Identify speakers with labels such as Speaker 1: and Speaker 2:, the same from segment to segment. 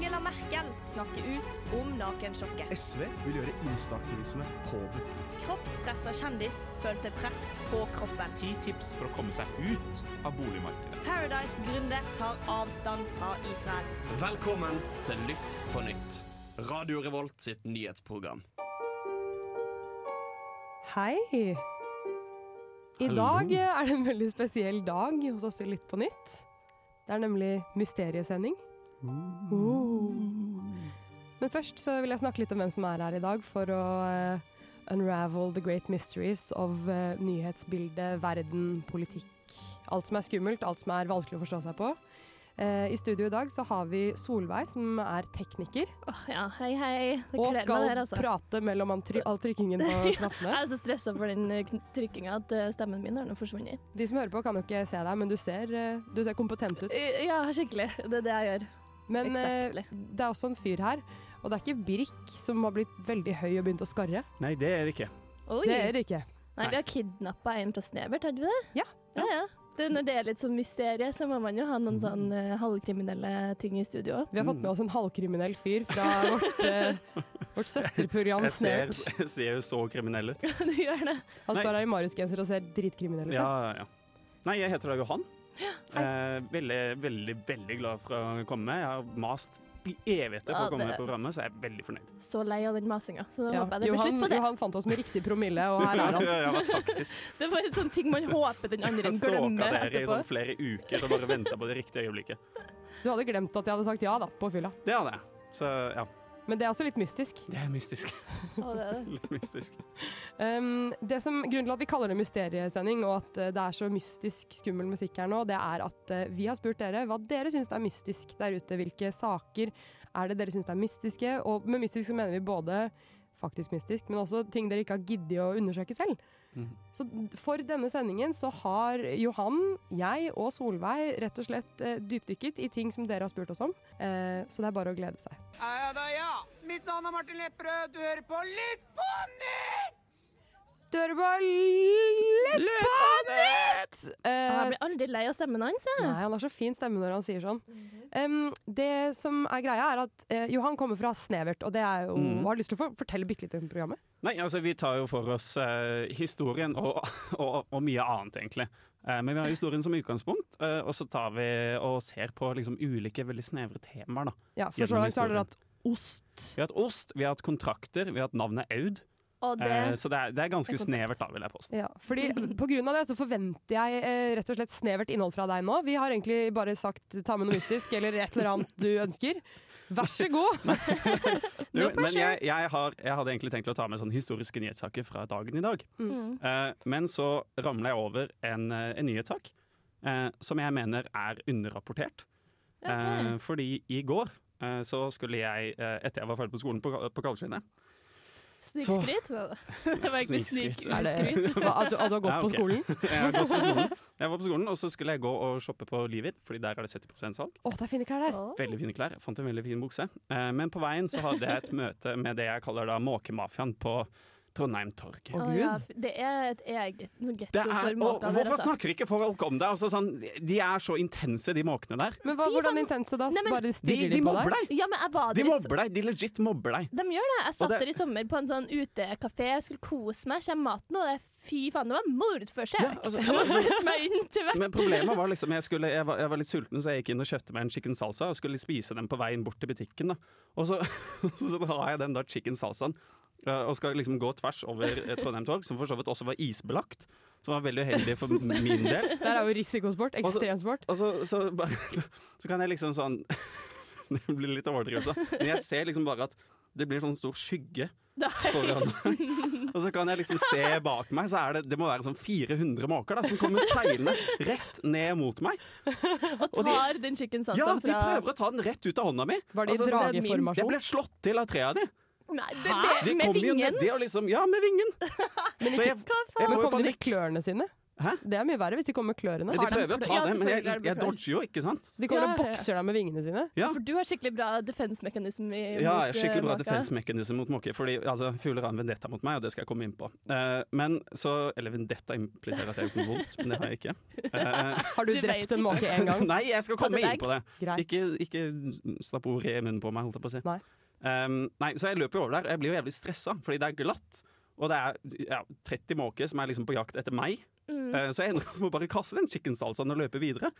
Speaker 1: Kirken snakker ut om nakensjokket.
Speaker 2: SV vil gjøre instaaktivisme påbudt.
Speaker 1: Kroppspressa kjendis følte press på kroppen.
Speaker 3: Ti tips for å komme seg ut av boligmarkedet.
Speaker 1: Paradise-gründer tar avstand fra Israel.
Speaker 4: Velkommen til Lytt på nytt. Radio Revolt sitt nyhetsprogram.
Speaker 5: Hei! I dag er det en veldig spesiell dag hos oss i Lytt på nytt. Det er nemlig mysteriesending. Oh. Men først så vil jeg snakke litt om hvem som er her i dag, for å eh, unravel the great mysteries of eh, nyhetsbildet, verden, politikk. Alt som er skummelt, alt som er vanskelig å forstå seg på. Eh, I studio i dag så har vi Solveig, som er tekniker,
Speaker 6: Åh, ja, hei, hei. Det
Speaker 5: og
Speaker 6: kler
Speaker 5: skal
Speaker 6: meg det her, altså.
Speaker 5: prate mellom all try- all trykkingen på knappene.
Speaker 6: Jeg er så stressa for den eh, kn- trykkinga at eh, stemmen min har nå forsvunnet.
Speaker 5: De som hører på, kan jo ikke se deg, men du ser, eh, du ser kompetent ut.
Speaker 6: Eh, Ja, skikkelig. Det er det jeg gjør.
Speaker 5: Men eh,
Speaker 6: exactly.
Speaker 5: det er også en fyr her, og det er ikke Birk som har blitt veldig høy og begynt å skarre.
Speaker 7: Nei, det er det ikke.
Speaker 6: Oi.
Speaker 5: Det er det ikke.
Speaker 6: Nei, vi har kidnappa en fra Snevert, hadde vi det?
Speaker 5: Ja.
Speaker 6: ja, ja. Det, når det er litt sånn mysterie, så må man jo ha
Speaker 5: Mm.
Speaker 6: noen sånn eh, halvkriminelle ting i studio.
Speaker 5: Vi har fått med oss en halvkriminell fyr fra vårt, eh, vårt søsterprogram
Speaker 7: Jeg ser,
Speaker 5: Snert.
Speaker 7: jeg ser jo så kriminell ut.
Speaker 6: du gjør det.
Speaker 5: Han
Speaker 7: Nei.
Speaker 5: står her i Marius-genser og ser dritkriminell ut.
Speaker 7: Ja, ja. Nei, jeg heter da Johan. Eh, veldig, veldig, veldig glad for å komme. Jeg har mast i evigheter på
Speaker 6: Ja,
Speaker 7: å komme
Speaker 6: det-
Speaker 7: i programmet, så jeg er veldig fornøyd.
Speaker 6: Så lei av den masinga, så da
Speaker 5: Ja.
Speaker 6: håper jeg det blir
Speaker 5: Johan,
Speaker 6: slutt på det.
Speaker 5: Johan fant oss med riktig promille, og her er han.
Speaker 7: Jeg var taktisk.
Speaker 6: Det er bare en sånn ting man håper den andre
Speaker 7: Jeg stalka
Speaker 6: glemmer
Speaker 7: dere i
Speaker 6: etterpå.
Speaker 7: sånn flere uker og bare venta på det riktige øyeblikket.
Speaker 5: Du hadde glemt at jeg hadde sagt ja da, på fylla.
Speaker 7: Det hadde jeg. Så ja,
Speaker 5: Men det er også litt mystisk.
Speaker 7: det er mystisk.
Speaker 5: sånn-
Speaker 6: Å, det er det.
Speaker 7: Litt mystisk.
Speaker 5: Um, det som, grunnen til at vi kaller det mysteriesending, og at eh, det er så mystisk skummel musikk her nå, det er at eh, vi har spurt dere hva dere syns er mystisk der ute. Hvilke saker er det dere syns er mystiske? Og med mystisk så mener vi både faktisk mystisk, men også ting dere ikke har giddet å undersøke selv. Så for denne sendingen så har Johan, jeg og Solveig rett og slett eh, dypdykket i ting som dere har spurt oss om. Eh, så det er bare å glede seg.
Speaker 8: Ja, ja da, ja. Mitt navn er Martin Lepperød. Du hører på Lytt på nytt!
Speaker 5: Du hører på Lett på nett! Eh,
Speaker 6: Jeg blir aldri lei av stemmen hans, jeg.
Speaker 5: Nei, han har så fin stemme når han sier sånn. Em, det som er greia, er at eh, Johan kommer fra Snevert, og det er jo
Speaker 7: Mm.
Speaker 5: Har du lyst til å for fortelle bitte litt om programmet?
Speaker 7: Nei, altså vi tar jo for oss eh, historien og, og, og mye annet, egentlig. Eh, men vi har historien som utgangspunkt, eh, og så tar vi og ser på liksom, ulike veldig snevre temaer. Da.
Speaker 5: Ja, for så
Speaker 7: Gjennom
Speaker 5: langt så har dere
Speaker 7: historien.
Speaker 5: hatt ost.
Speaker 7: Vi har hatt ost, vi har hatt kontrakter, vi har hatt navnet Aud.
Speaker 6: Og det
Speaker 7: Eh, så det er, det er ganske
Speaker 6: Det er konsept.
Speaker 7: snevert, da, vil jeg påstå.
Speaker 5: Ja, fordi På grunn av det så forventer jeg eh, rett og slett snevert innhold fra deg nå. Vi har egentlig bare sagt ta med noe mystisk eller et eller annet du ønsker. Vær så god!
Speaker 7: Jo, men jeg, jeg, har, jeg hadde egentlig tenkt å ta med sånne historiske nyhetssaker fra dagen i dag.
Speaker 6: Mm.
Speaker 7: Eh, men så ramla jeg over en, eh, en nyhetssak eh, som jeg mener er underrapportert. Eh, fordi i går eh, så skulle jeg, eh, etter jeg var ferdig på skolen på, på Kalvskinnet
Speaker 6: Snikskryt? Nei, Det var egentlig
Speaker 7: Snikskryt.
Speaker 6: snik-
Speaker 5: Er det,
Speaker 6: skryt.
Speaker 5: Hva, at, du, at du har gått
Speaker 7: Ja,
Speaker 5: på
Speaker 7: ok.
Speaker 5: skolen? Å,
Speaker 7: jeg, var på skolen. jeg var på skolen, og så skulle jeg gå og shoppe på Livir, fordi der er det 70 salg.
Speaker 5: det er fine klær der!
Speaker 6: Åh.
Speaker 7: Veldig fine klær. Jeg fant en veldig fin bukse. Eh, men på veien så hadde jeg et møte med det jeg kaller da måkemafiaen på Trondheim torg.
Speaker 5: Å,
Speaker 6: Å, ja,
Speaker 5: gud.
Speaker 6: f- det er et eget sånn
Speaker 7: Det
Speaker 6: getto
Speaker 7: er,
Speaker 6: for
Speaker 7: og,
Speaker 6: måka der,
Speaker 7: hvorfor
Speaker 6: altså.
Speaker 7: snakker ikke folk om det? Altså, sånn, de er så intense, de måkene der.
Speaker 5: Men hva,
Speaker 6: Fy
Speaker 5: hvordan
Speaker 6: faen.
Speaker 5: intense da?
Speaker 6: Nei, men-
Speaker 5: Bare
Speaker 7: De, de
Speaker 5: stirrer de på
Speaker 7: mobber
Speaker 5: deg?
Speaker 7: deg!
Speaker 6: Ja, men jeg
Speaker 7: De
Speaker 6: var der i s-
Speaker 7: mobber deg, de legit mobber deg.
Speaker 6: De gjør det. Jeg satt
Speaker 7: det-
Speaker 6: der i sommer på en sånn utekafé, jeg skulle kose meg, kommer maten, og det er fy faen, det var mordforsøk!
Speaker 7: Ja, altså, ja, men-
Speaker 6: Mord meg inn til hvert.
Speaker 7: Men problemet var liksom jeg, skulle, jeg, var, jeg var litt sulten, så jeg gikk inn og kjøpte meg en chicken salsa og skulle spise den på veien bort til butikken. Da. Og så, så har jeg den da chicken salsaen eh, og skal liksom gå tvers over eh, Trondheim torg, som for så vidt også var isbelagt. Som var veldig uheldig for min del.
Speaker 5: Der er jo risikosport.
Speaker 7: Og så-
Speaker 5: Ekstremsport.
Speaker 7: Og så, så, bare, så, så kan jeg liksom sånn Det blir litt overdrivelse. Men jeg ser liksom bare at det blir sånn stor skygge foran meg. Og så kan jeg liksom se bak meg, så er det, det må være sånn 400 måker da, som kommer seilende rett ned mot meg.
Speaker 6: Og
Speaker 7: og de-
Speaker 6: tar den chicken salsaen
Speaker 7: Ja, de
Speaker 6: sånn fra
Speaker 7: prøver å ta den rett ut av hånda mi.
Speaker 5: Var det i
Speaker 7: Altså, så-
Speaker 6: det er min-
Speaker 5: drageformasjon?
Speaker 7: jeg ble slått til av tre av de.
Speaker 6: Nei, det, det,
Speaker 7: De
Speaker 6: med
Speaker 7: kom jo
Speaker 6: vingen!
Speaker 7: nedi og liksom Ja, med vingen! Så jeg, jeg
Speaker 6: Hva faen?
Speaker 7: får
Speaker 5: Men
Speaker 7: jo
Speaker 5: kom de med
Speaker 7: panikk.
Speaker 5: klørne sine?
Speaker 7: Hæ?
Speaker 5: Det er mye verre hvis de kommer med klørne.
Speaker 7: Men
Speaker 6: Har
Speaker 7: de
Speaker 6: de
Speaker 7: prøver å
Speaker 6: klør?
Speaker 7: ta
Speaker 6: Ja,
Speaker 7: den, men jeg,
Speaker 6: selvfølgelig har
Speaker 7: jeg,
Speaker 6: de klør.
Speaker 7: dodger jo, ikke sant?
Speaker 5: Så de kommer og
Speaker 6: Ja, ja.
Speaker 5: bokser deg med vingene sine.
Speaker 7: Ja.
Speaker 6: For du har skikkelig bra defense-mekanisme i-
Speaker 7: Ja,
Speaker 6: mot, eh,
Speaker 7: skikkelig bra
Speaker 6: maka.
Speaker 7: defense mechanism mot måker. Fordi altså, fugler har en vendetta mot meg, og det skal jeg komme inn på. Eh, men så Eller vendetta impliserer at jeg har gjort noe vondt, men det har jeg ikke. Eh,
Speaker 5: Har du,
Speaker 6: Du vet
Speaker 5: drept en
Speaker 6: ikke.
Speaker 5: måke én gang?
Speaker 7: nei, jeg skal komme
Speaker 6: det
Speaker 7: inn på det.
Speaker 5: Greit.
Speaker 7: Ikke, ikke stapp ordet i munnen på meg, holdt jeg på å si.
Speaker 5: Nei.
Speaker 7: Ehm, nei, så jeg løper jo over der, og jeg blir jo jævlig stressa, fordi det er glatt. Og det er ja, 30 måker som er liksom på jakt etter meg.
Speaker 6: Mm.
Speaker 7: Eh, så jeg ender opp med å bare kaste den chicken salsaen og løpe videre.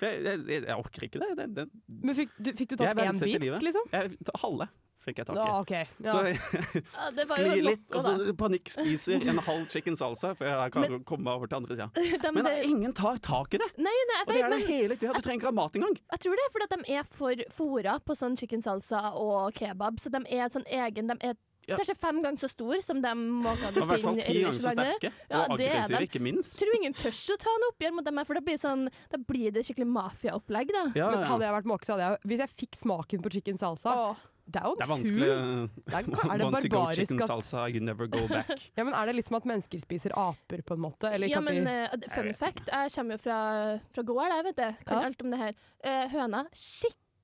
Speaker 7: For jeg, jeg, jeg, jeg orker ikke det. det, det
Speaker 5: Men fikk du, fikk du
Speaker 7: Jeg
Speaker 5: tatt
Speaker 7: er
Speaker 5: én
Speaker 7: verdensett i
Speaker 5: bit,
Speaker 7: livet.
Speaker 5: liksom?
Speaker 7: jeg, ta- halve fikk jeg tak i.
Speaker 5: Ja, OK. Ja.
Speaker 7: Så
Speaker 6: Ja, det var jo
Speaker 7: sklir litt, altså. og
Speaker 6: noko, da.
Speaker 7: så panikkspiser en halv chicken salsa før jeg kan komme meg over til andre sida.
Speaker 6: De,
Speaker 7: Men
Speaker 6: det-
Speaker 7: ingen tar tak i det!
Speaker 6: Nei, nei, jeg
Speaker 7: Og det
Speaker 6: vet,
Speaker 7: er det
Speaker 6: men
Speaker 7: hele tida. Du trenger ikke ha mat engang.
Speaker 6: jeg tror det er fordi at de er for fora på sånn chicken salsa og kebab. Så de er sånn egen De er
Speaker 7: Ja.
Speaker 6: kanskje fem ganger så store som de måkene du
Speaker 7: Og i hvert fall
Speaker 6: finner
Speaker 7: ti ganger
Speaker 6: ellers i
Speaker 7: så
Speaker 6: landet.
Speaker 7: sterke.
Speaker 6: Ja,
Speaker 7: Og
Speaker 6: det er
Speaker 7: aggressive,
Speaker 6: dem.
Speaker 7: ikke minst.
Speaker 6: Tror ingen tør å ta noe oppgjør mot dem, her, for da blir, sånn, da blir det skikkelig mafiaopplegg, da.
Speaker 7: Ja,
Speaker 5: Men
Speaker 7: ja.
Speaker 5: hadde jeg vært måke, så hadde jeg Hvis jeg fikk smaken på chicken salsa
Speaker 6: Åh.
Speaker 5: Det er jo
Speaker 7: Det er
Speaker 5: en fugl.
Speaker 7: vanskelig.
Speaker 5: Det er, er det
Speaker 7: Once you go chicken
Speaker 5: barbarisk at
Speaker 7: salsa, you never go back.
Speaker 5: ja, men Er det litt som at mennesker spiser aper, på en måte? Eller
Speaker 6: Ja,
Speaker 5: kan de,
Speaker 6: men eh, fun
Speaker 7: vet
Speaker 6: fact, jeg kommer jo fra, fra gård, jeg, vet du.
Speaker 5: Ja.
Speaker 6: Kan alt om det her. Eh, høna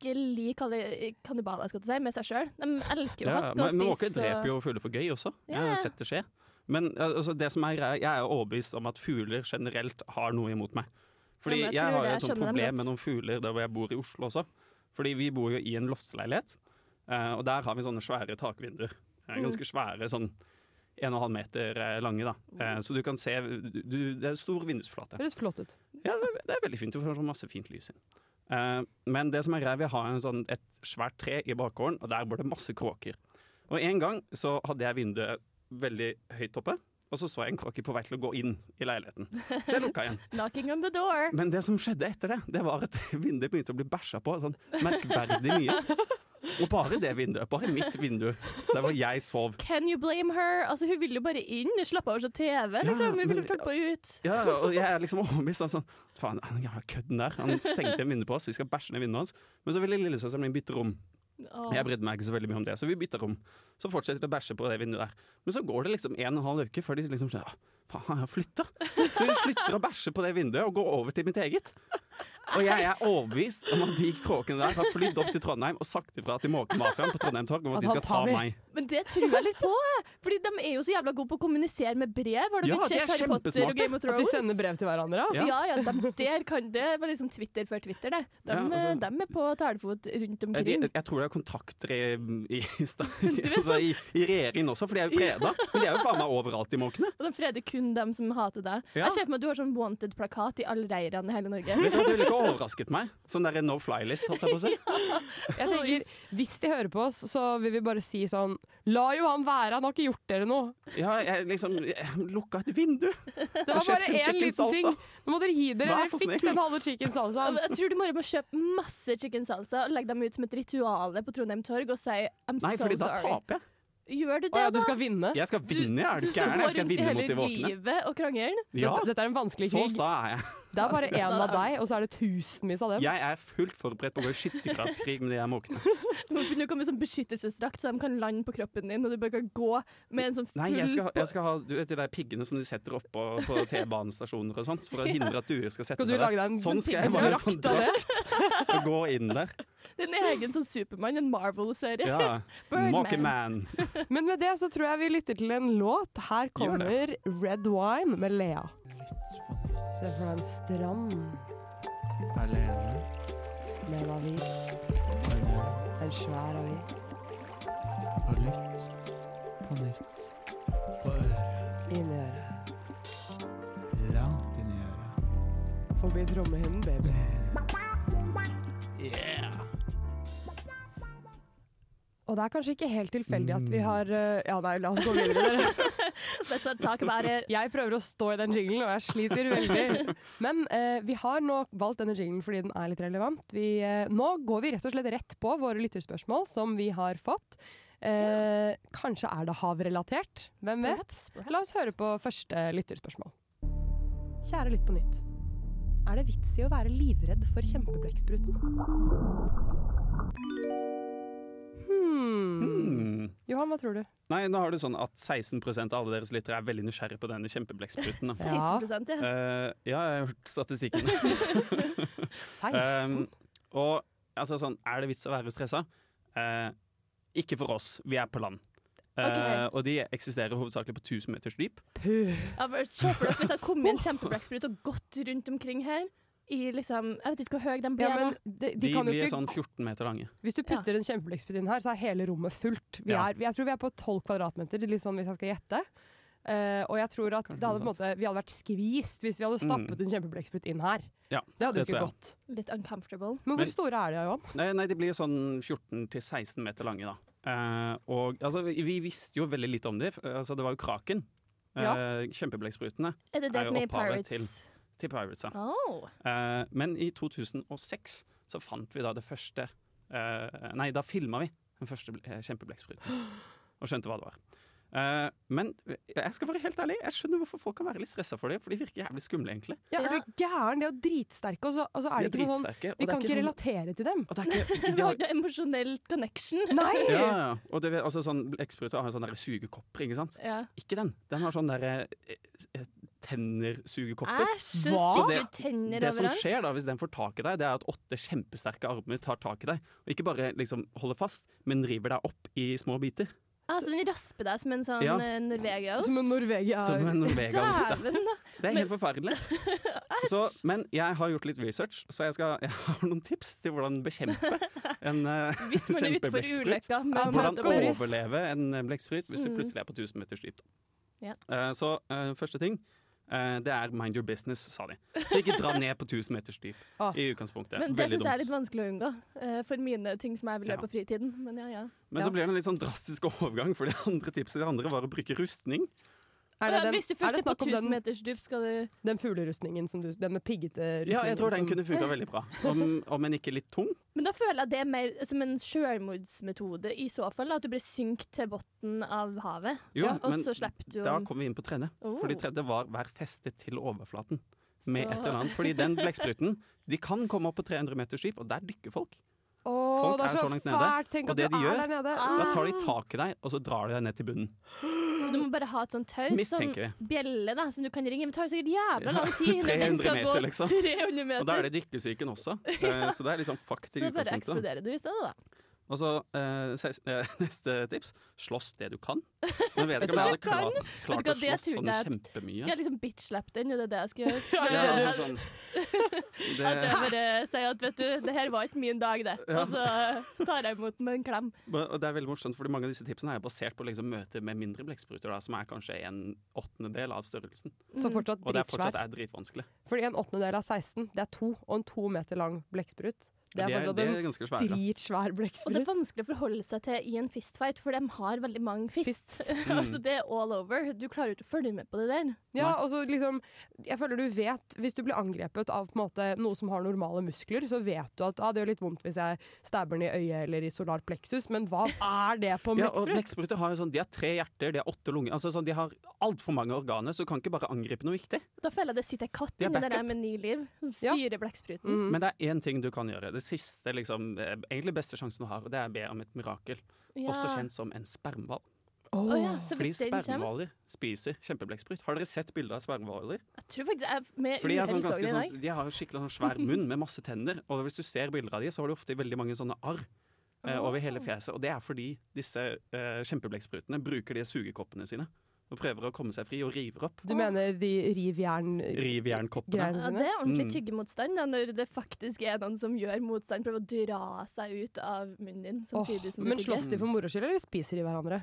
Speaker 6: skikkelig kalli- kannibaler, skal jeg til å si, med seg sjøl. De elsker jo
Speaker 7: Ja,
Speaker 6: hatt
Speaker 7: men
Speaker 6: og
Speaker 7: men måker
Speaker 6: spise.
Speaker 7: dreper jo fugler for gøy også. Jeg har
Speaker 6: Ja.
Speaker 7: jo sett det skje. Men al- altså, det som er, greia- jeg er overbevist om at fugler generelt har noe imot meg. Fordi
Speaker 6: Ja, men jeg
Speaker 7: jeg,
Speaker 6: tror
Speaker 7: har jo
Speaker 6: det, jeg
Speaker 7: et
Speaker 6: skjønner
Speaker 7: sånt
Speaker 6: dem godt.
Speaker 7: problem med noen fugler der hvor jeg bor i Oslo også. Fordi vi bor jo i en loftsleilighet, eh, og der har vi sånne svære takvinduer. Eh,
Speaker 6: Mm.
Speaker 7: Ganske svære, sånn en og en halv meter eh, lange, da. Eh, Så du kan se du- du, Det er stor vindusflate.
Speaker 5: Høres flott ut.
Speaker 7: Ja, det det er veldig fint. Du får sånn masse fint lys inn. Eh, men det som er greia, vi har en sånn, et svært tre i bakgården, og der bor det masse kråker. Og en gang så hadde jeg vinduet veldig høyt oppe, og så så jeg en kråke på vei til å gå inn i leiligheten. Så jeg lukka igjen.
Speaker 6: Knocking on the door.
Speaker 7: Men det som skjedde etter det, det var at vinduet begynte å bli bæsja på sånn merkverdig mye. Og bare det vinduet. Bare mitt vindu. Der hvor jeg sov.
Speaker 6: Can you blame her? Altså, hun vil jo bare inn. Slapp av å se TV, liksom. Hun
Speaker 7: men-
Speaker 6: vil jo klippe ut.
Speaker 7: Ja, og jeg er liksom overbevist om sånn Faen, han jævla kødden der. Han stengte igjen vinduet på oss. Vi skal bæsje ned vinduet hans. Men så ville lillesøsteren min bytte rom.
Speaker 6: Åh.
Speaker 7: Jeg brydde meg ikke så veldig mye om det, så vi bytta rom. Så fortsetter det å bæsje på det vinduet der. Men så går det liksom en og en halv uke før de liksom skjønner «Ah, Faen, han har flytta! Så de slutter å bæsje på det vinduet og går over til mitt eget. Og jeg er overbevist om at de kråkene der har flydd opp til Trondheim og sagt ifra til måkemafiaen på Trondheim Torg om
Speaker 5: At
Speaker 7: at de
Speaker 5: han
Speaker 7: skal ta
Speaker 5: tar vi.
Speaker 7: meg.
Speaker 6: Men det tror jeg litt på, jeg. Fordi de er jo så jævla gode på å kommunisere med brev. Har dere
Speaker 7: Ja, de er
Speaker 6: sett Harry Potter og
Speaker 7: kjempesmarte.
Speaker 6: Game of
Speaker 5: At
Speaker 6: Thrones?
Speaker 5: de sender brev til hverandre? Ja.
Speaker 7: Ja.
Speaker 6: Ja, ja, de, der kan det var liksom Twitter før Twitter, det. De,
Speaker 7: Ja, altså-
Speaker 6: de er på talefot rundt
Speaker 7: Eh, De,
Speaker 6: omkring.
Speaker 7: jeg tror det er kontakter i, i, i, sta-
Speaker 6: er
Speaker 7: altså, i, i regjeringen også, for de er jo freda. Men de er jo faen meg overalt, de måkene.
Speaker 6: Og de freder kun dem som hater deg.
Speaker 7: Ja.
Speaker 6: Jeg ser for meg at du har sånn wanted-plakat i alle reirene i hele Norge.
Speaker 7: Vet du hva, Du ville ikke overrasket meg. Sånn der no fly-list, holdt jeg på å si.
Speaker 5: Jeg tenker, Hvis de hører på oss, så vil vi bare si sånn La jo han være, han har ikke gjort dere noe.
Speaker 7: Ja, jeg liksom jeg lukka et vindu.
Speaker 5: Det var
Speaker 7: Og kjøpte altså.
Speaker 5: bare
Speaker 7: en
Speaker 5: én
Speaker 7: chicken
Speaker 5: liten ting.
Speaker 7: salsa.
Speaker 5: Nå må dere gi dere.
Speaker 7: Vær
Speaker 5: Dere
Speaker 7: så
Speaker 5: fikk
Speaker 7: snill.
Speaker 5: den halve chicken salsaen.
Speaker 6: Jeg tror du bare må kjøpe masse chicken salsa og legge dem ut som et ritual på Trondheim Torg og si I'm
Speaker 7: Nei,
Speaker 6: so
Speaker 7: fordi da
Speaker 6: sorry.
Speaker 7: taper jeg.
Speaker 6: Gjør du
Speaker 5: Å
Speaker 6: det,
Speaker 5: ja, du
Speaker 6: da?
Speaker 5: skal vinne?
Speaker 7: Jeg skal
Speaker 6: Du-
Speaker 7: vinne, er
Speaker 6: så
Speaker 7: du gæren? Jeg skal vinne mot de
Speaker 6: gå rundt i
Speaker 7: våkne.
Speaker 6: hele livet og krangle?
Speaker 7: Ja,
Speaker 5: Dette, dette er en vanskelig
Speaker 7: så
Speaker 5: krig.
Speaker 7: sta er jeg.
Speaker 5: Det er bare én av deg, og så er det tusenvis av dem.
Speaker 7: Jeg er fullt forberedt på å gå i skyttergravskrig med de her måkene.
Speaker 6: Du må begynne å komme i sånn beskyttelsesdrakt, så de kan lande på kroppen din, og du bare kan gå med en sånn full
Speaker 7: Nei, jeg skal, jeg skal ha du vet, de der piggene som de setter oppå på T-banestasjoner og sånt, for å hindre at duer skal sette
Speaker 5: Skal du
Speaker 7: seg
Speaker 5: lage
Speaker 7: der.
Speaker 5: deg en
Speaker 7: Sånn skal jeg
Speaker 5: en
Speaker 7: være,
Speaker 5: drakt
Speaker 7: sånn
Speaker 5: av det?
Speaker 7: Og gå inn der.
Speaker 6: Det er en egen sånn Supermann, en Marvel-serie.
Speaker 7: Ja.
Speaker 6: Birdman.
Speaker 7: Måkeman.
Speaker 5: Men med det så tror jeg vi lytter til en låt. Her
Speaker 7: Gjør
Speaker 5: kommer Red Wine med Lea. Se fra en strand med en avis. En svær avis. Inni øret.
Speaker 9: Langt inn i øret.
Speaker 5: Forbi trommehinnen, baby. Og det er kanskje ikke helt tilfeldig at vi har eh, Ja, nei, la oss gå videre. dere.
Speaker 6: Let's not talk about it.
Speaker 5: Jeg prøver å stå i den jinglen, og jeg sliter veldig. Men eh, vi har nå valgt denne jinglen fordi den er litt relevant. Vi, eh, nå går vi rett og slett rett på våre lytterspørsmål som vi har fått. Eh, Kanskje er det havrelatert? Hvem vet?
Speaker 6: Perhaps, perhaps.
Speaker 5: La oss høre på første lytterspørsmål. Kjære Lytt på nytt. Er det vits i å være livredd for kjempeblekkspruten? Hmm.
Speaker 7: Hmm. Mm.
Speaker 5: Johan, hva tror du?
Speaker 7: Nei, nå har du sånn at 16 av alle deres lyttere er veldig nysgjerrig på denne kjempeblekkspruten. Da.
Speaker 6: 16 ja.
Speaker 7: Eh, ja, jeg har hørt statistikken.
Speaker 5: 16?
Speaker 7: Um, og altså sånn, er det vits å være stressa? Eh, ikke for oss, vi er på land. Eh,
Speaker 6: Ok.
Speaker 7: og de eksisterer hovedsakelig på 1000 meters dyp.
Speaker 5: Puh.
Speaker 6: Ja, men Se for dere hvis det kom en kjempebrekksprut og gått rundt omkring her i liksom Jeg vet ikke hvor høy den ble.
Speaker 5: Ja, men
Speaker 6: nå.
Speaker 5: de, de
Speaker 7: De,
Speaker 5: kan jo
Speaker 7: blir
Speaker 5: ikke
Speaker 7: sånn 14 meter lange.
Speaker 5: Hvis du putter en kjempeblekksprut inn her, så er hele rommet fullt. Vi
Speaker 7: Ja.
Speaker 5: er, jeg tror vi er på 12 kvadratmeter, litt sånn hvis jeg skal gjette. Eh, og jeg tror at det hadde, på en måte, vi hadde vært skvist hvis vi hadde stappet en kjempeblekksprut inn her.
Speaker 7: Mm. Ja,
Speaker 5: det
Speaker 7: det
Speaker 5: hadde jo ikke
Speaker 7: tror jeg.
Speaker 5: gått.
Speaker 6: Litt uncomfortable.
Speaker 5: Men hvor
Speaker 7: Men-
Speaker 5: store er de, Johan?
Speaker 7: Nei, nei de blir sånn 14 til 16 meter lange, da. Eh, og altså, vi vi visste jo veldig litt om det. f- Altså, det var jo kraken.
Speaker 5: Ja.
Speaker 7: Eh, Kjempebleggsprutene
Speaker 6: Er det det
Speaker 7: Er jo
Speaker 6: som er i
Speaker 7: opphavet
Speaker 6: Pirates?
Speaker 7: til- til Pirates. da.
Speaker 6: Oh.
Speaker 7: Eh, men i 2006 så fant vi da det første eh, Nei, da filma vi den første ble- eh, kjempeblekkspruten. Og skjønte hva det var. Eh, men jeg skal være helt ærlig, jeg skjønner hvorfor folk kan være litt stressa for det. For de virker jævlig skumle, egentlig.
Speaker 5: Ja,
Speaker 6: Ja.
Speaker 5: Er du gæren? De er jo dritsterke, og så, og så er
Speaker 7: De
Speaker 5: det
Speaker 7: er
Speaker 5: ikke noe sånn
Speaker 7: dritsterke.
Speaker 5: Vi
Speaker 7: og det er
Speaker 5: kan ikke
Speaker 7: sånn-
Speaker 5: relatere til dem.
Speaker 7: og det er ikke-
Speaker 6: Det
Speaker 7: de har-
Speaker 6: var ikke noe emosjonell connection.
Speaker 5: Nei!
Speaker 7: Ja, ja, ja. Og det, altså, sånn, Blekkspruter har sånne der sugekopper, ikke sant?
Speaker 6: Ja.
Speaker 7: Ikke den. Den har sånne der, eh, eh, tennersugekopper.
Speaker 6: Æsj, så
Speaker 5: Hva?
Speaker 6: stygge tenner
Speaker 7: Det som
Speaker 6: overalt.
Speaker 7: skjer da, hvis den får tak i deg, det er at åtte kjempesterke armer tar tak i deg. Og ikke bare liksom holder fast, men river deg opp i små biter.
Speaker 6: Ah, så den rasper deg som en sånn
Speaker 7: Ja.
Speaker 6: eh, Norvegiaost?
Speaker 5: Som en Norvegia
Speaker 7: Som en Norvegaost. da.
Speaker 6: Dæven, da.
Speaker 7: Det er helt forferdelig. Så, men jeg har gjort litt research, så jeg, skal, jeg har noen tips til hvordan bekjempe en eh,
Speaker 6: Hvis man er utfor
Speaker 7: kjempeblekksprut.
Speaker 6: ulykka med
Speaker 5: Ja,
Speaker 7: Hvordan
Speaker 5: Mette Boris.
Speaker 7: overleve en eh, blekksprut hvis du
Speaker 6: Mm.
Speaker 7: plutselig er på 1000 meters dyp. da.
Speaker 6: Ja.
Speaker 7: Eh, så eh, første ting, eh, det er mind your business, sa de. Så ikke dra ned på 1000 meters dyp
Speaker 5: Ah.
Speaker 7: i utgangspunktet.
Speaker 6: Men det
Speaker 7: Veldig
Speaker 6: syns jeg
Speaker 7: dumt.
Speaker 6: er litt vanskelig å unngå. eh, For mine ting som jeg vil gjøre
Speaker 7: Ja.
Speaker 6: på fritiden. Men ja, ja.
Speaker 7: Men
Speaker 5: Ja.
Speaker 7: så blir det en litt sånn drastisk overgang, for det andre tipset det andre var å bruke rustning.
Speaker 5: Er
Speaker 6: Å
Speaker 5: det
Speaker 6: ja,
Speaker 5: den,
Speaker 6: hvis du
Speaker 5: er
Speaker 6: først
Speaker 5: det
Speaker 6: er på
Speaker 5: snakk om
Speaker 6: 1000
Speaker 5: den,
Speaker 6: meters dyp, skal du
Speaker 5: den fuglerustningen som du Den med piggete rustning?
Speaker 7: Ja, jeg tror den
Speaker 6: liksom.
Speaker 5: som-
Speaker 7: kunne funka veldig bra. Om, om en ikke litt tung.
Speaker 6: Men da føler jeg det er mer som en selvmordsmetode i så fall. da, At du blir synkt til bunnen av havet.
Speaker 7: Jo,
Speaker 6: Ja, og
Speaker 7: men
Speaker 6: så slipper du
Speaker 7: da
Speaker 6: om-
Speaker 7: kom vi inn på tredje.
Speaker 6: Oh.
Speaker 7: For det tredje var vær festet til overflaten med
Speaker 6: Så-
Speaker 7: et eller annet. Fordi den blekkspruten, de kan komme opp på 300 meters dyp, og der dykker folk.
Speaker 5: Å,
Speaker 7: Folk
Speaker 5: det er
Speaker 7: er
Speaker 5: så
Speaker 7: så langt nede,
Speaker 5: fælt!
Speaker 7: og
Speaker 5: Tenk at du
Speaker 7: det de
Speaker 5: er
Speaker 7: gjør-
Speaker 5: der nede.
Speaker 7: Da tar
Speaker 6: Ah.
Speaker 7: de tak i deg, og så drar de deg ned til bunnen.
Speaker 6: Så du må bare ha et sånt taus, sånn
Speaker 7: Mistenker
Speaker 6: bjelle da, som du kan ringe. Men det tar jo sikkert jævla lang tid når
Speaker 7: 300
Speaker 6: den skal gå
Speaker 7: meter, liksom.
Speaker 6: 300 meter.
Speaker 7: Og da er det dykkesyken også. Eh, Så det er liksom fuck til
Speaker 6: så bare
Speaker 7: utgangspunktet.
Speaker 6: eksploderer du i stedet, da.
Speaker 7: Og så eh, ses- eh, neste tips slåss det du kan. Men vet ikke om
Speaker 5: Vet
Speaker 7: jeg
Speaker 6: du
Speaker 7: hadde
Speaker 6: hva jeg
Speaker 7: klart, klart
Speaker 6: Vet
Speaker 7: å
Speaker 6: du hva, det
Speaker 7: slåss
Speaker 6: tror
Speaker 7: sånn
Speaker 6: jeg at-
Speaker 7: kjempemye.
Speaker 6: Skal jeg liksom bitch-slappe den, er det det jeg skal gjøre?
Speaker 7: Ja,
Speaker 6: Bare-
Speaker 7: det er sånn,
Speaker 6: At jeg
Speaker 7: det,
Speaker 6: bare sier at vet du, det her var ikke min dag, det.
Speaker 7: Ja.
Speaker 6: Og så tar jeg imot den med en klem.
Speaker 7: og det er veldig morsomt, fordi mange av disse tipsene er jo basert på liksom møter med mindre blekkspruter, da, som er kanskje en åttendedel av størrelsen.
Speaker 5: Så fortsatt
Speaker 7: Og det er fortsatt
Speaker 5: dritsvær.
Speaker 7: er dritvanskelig.
Speaker 5: Fordi en åttendedel av 16, det er to. Og en to meter lang blekksprut. Det er
Speaker 7: De
Speaker 5: fortsatt
Speaker 7: de
Speaker 5: en
Speaker 7: er ganske svære.
Speaker 5: dritsvær
Speaker 6: Og det
Speaker 5: blekksprut.
Speaker 6: er vanskelig å forholde seg til i en fistfight, for de har veldig mange fist.
Speaker 7: Mm.
Speaker 6: altså, det er all over. Du klarer jo ikke å følge med på det der.
Speaker 5: Ja, og så liksom Jeg føler du vet Hvis du blir angrepet av på en måte noe som har normale muskler, så vet du at ah, det gjør litt vondt hvis jeg stabber den i øyet eller i solar plexus, men hva er det på en
Speaker 7: Ja, og
Speaker 5: blekksprut?
Speaker 7: blekkspruter har jo sånn, de har tre hjerter, de har åtte lunger. Altså sånn, de har altfor mange organer, så du kan ikke bare angripe noe viktig.
Speaker 6: Da føler jeg det sitter en katt
Speaker 7: Det er
Speaker 6: inni der
Speaker 7: backup.
Speaker 6: med ni liv, som
Speaker 5: Ja.
Speaker 6: styrer blekkspruten.
Speaker 5: Mm.
Speaker 7: Men det er én ting du kan gjøre. Det siste, liksom, eh, egentlig beste sjansen du har, og det er å be om et mirakel.
Speaker 6: Ja.
Speaker 7: Mm. Også kjent som en spermhval.
Speaker 5: Åh.
Speaker 6: Å ja, så
Speaker 7: Fordi
Speaker 6: hvis den kommer
Speaker 7: spermhvaler spiser kjempeblekksprut. Har dere sett bilder av spermhvaler?
Speaker 6: Jeg tror faktisk jeg med
Speaker 7: For de, er
Speaker 6: uhell
Speaker 7: sånn
Speaker 6: så
Speaker 7: ganske
Speaker 6: den i dag.
Speaker 7: sånn, de har jo skikkelig sånn svær munn med masse tenner. Og hvis du ser bilder av de, så har de ofte veldig mange sånne arr eh, over hele fjeset. Og det er fordi disse eh, kjempebleggsprutene bruker de sugekoppene sine. Og prøver å komme seg fri og river opp
Speaker 5: Du mener de rivjern-greiene
Speaker 7: rivjernkoppene.
Speaker 6: Ja,
Speaker 5: sine?
Speaker 6: det er ordentlig
Speaker 7: Mm.
Speaker 6: tyggemotstand da, når det faktisk er noen som gjør motstand, prøver å dra seg ut av munnen din
Speaker 5: Åh,
Speaker 6: samtidig som du
Speaker 5: men
Speaker 6: tygger.
Speaker 5: slåss de for moro skyld, eller spiser de hverandre?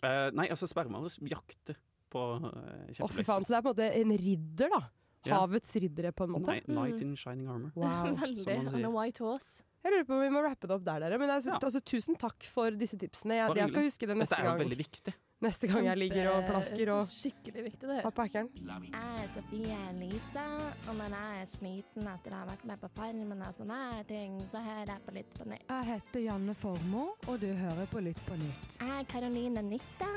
Speaker 7: Eh, nei, altså spermhvaler jakter på eh,
Speaker 5: Å, fy faen. Så det er på en måte en ridder, da.
Speaker 7: Ja.
Speaker 5: Havets riddere, på en måte. Mm.
Speaker 7: Nei, Knight in shining armor.
Speaker 5: Wow.
Speaker 6: Veldig.
Speaker 7: som man
Speaker 6: On a
Speaker 7: sier.
Speaker 6: white horse.
Speaker 5: Jeg lurer på om vi må rappe det opp der, dere. Men jeg,
Speaker 7: Ja.
Speaker 5: altså, tusen takk for disse tipsene. Jeg,
Speaker 7: Bare
Speaker 5: jeg skal huske det
Speaker 7: Dette
Speaker 5: neste
Speaker 7: er jo
Speaker 5: gang,
Speaker 7: veldig viktig.
Speaker 5: neste gang jeg ligger og
Speaker 6: Kjempe-
Speaker 5: plasker og
Speaker 6: Skikkelig viktig, det her.
Speaker 5: har packeren.
Speaker 10: Jeg er Sofie Elise, og når jeg er sliten etter å ha vært med på Farmen og sånne her ting, så hører jeg på Lytt på nytt.
Speaker 11: Jeg heter Janne Formoe, og du hører på Lytt på nytt.
Speaker 10: Jeg er Karoline Nitta.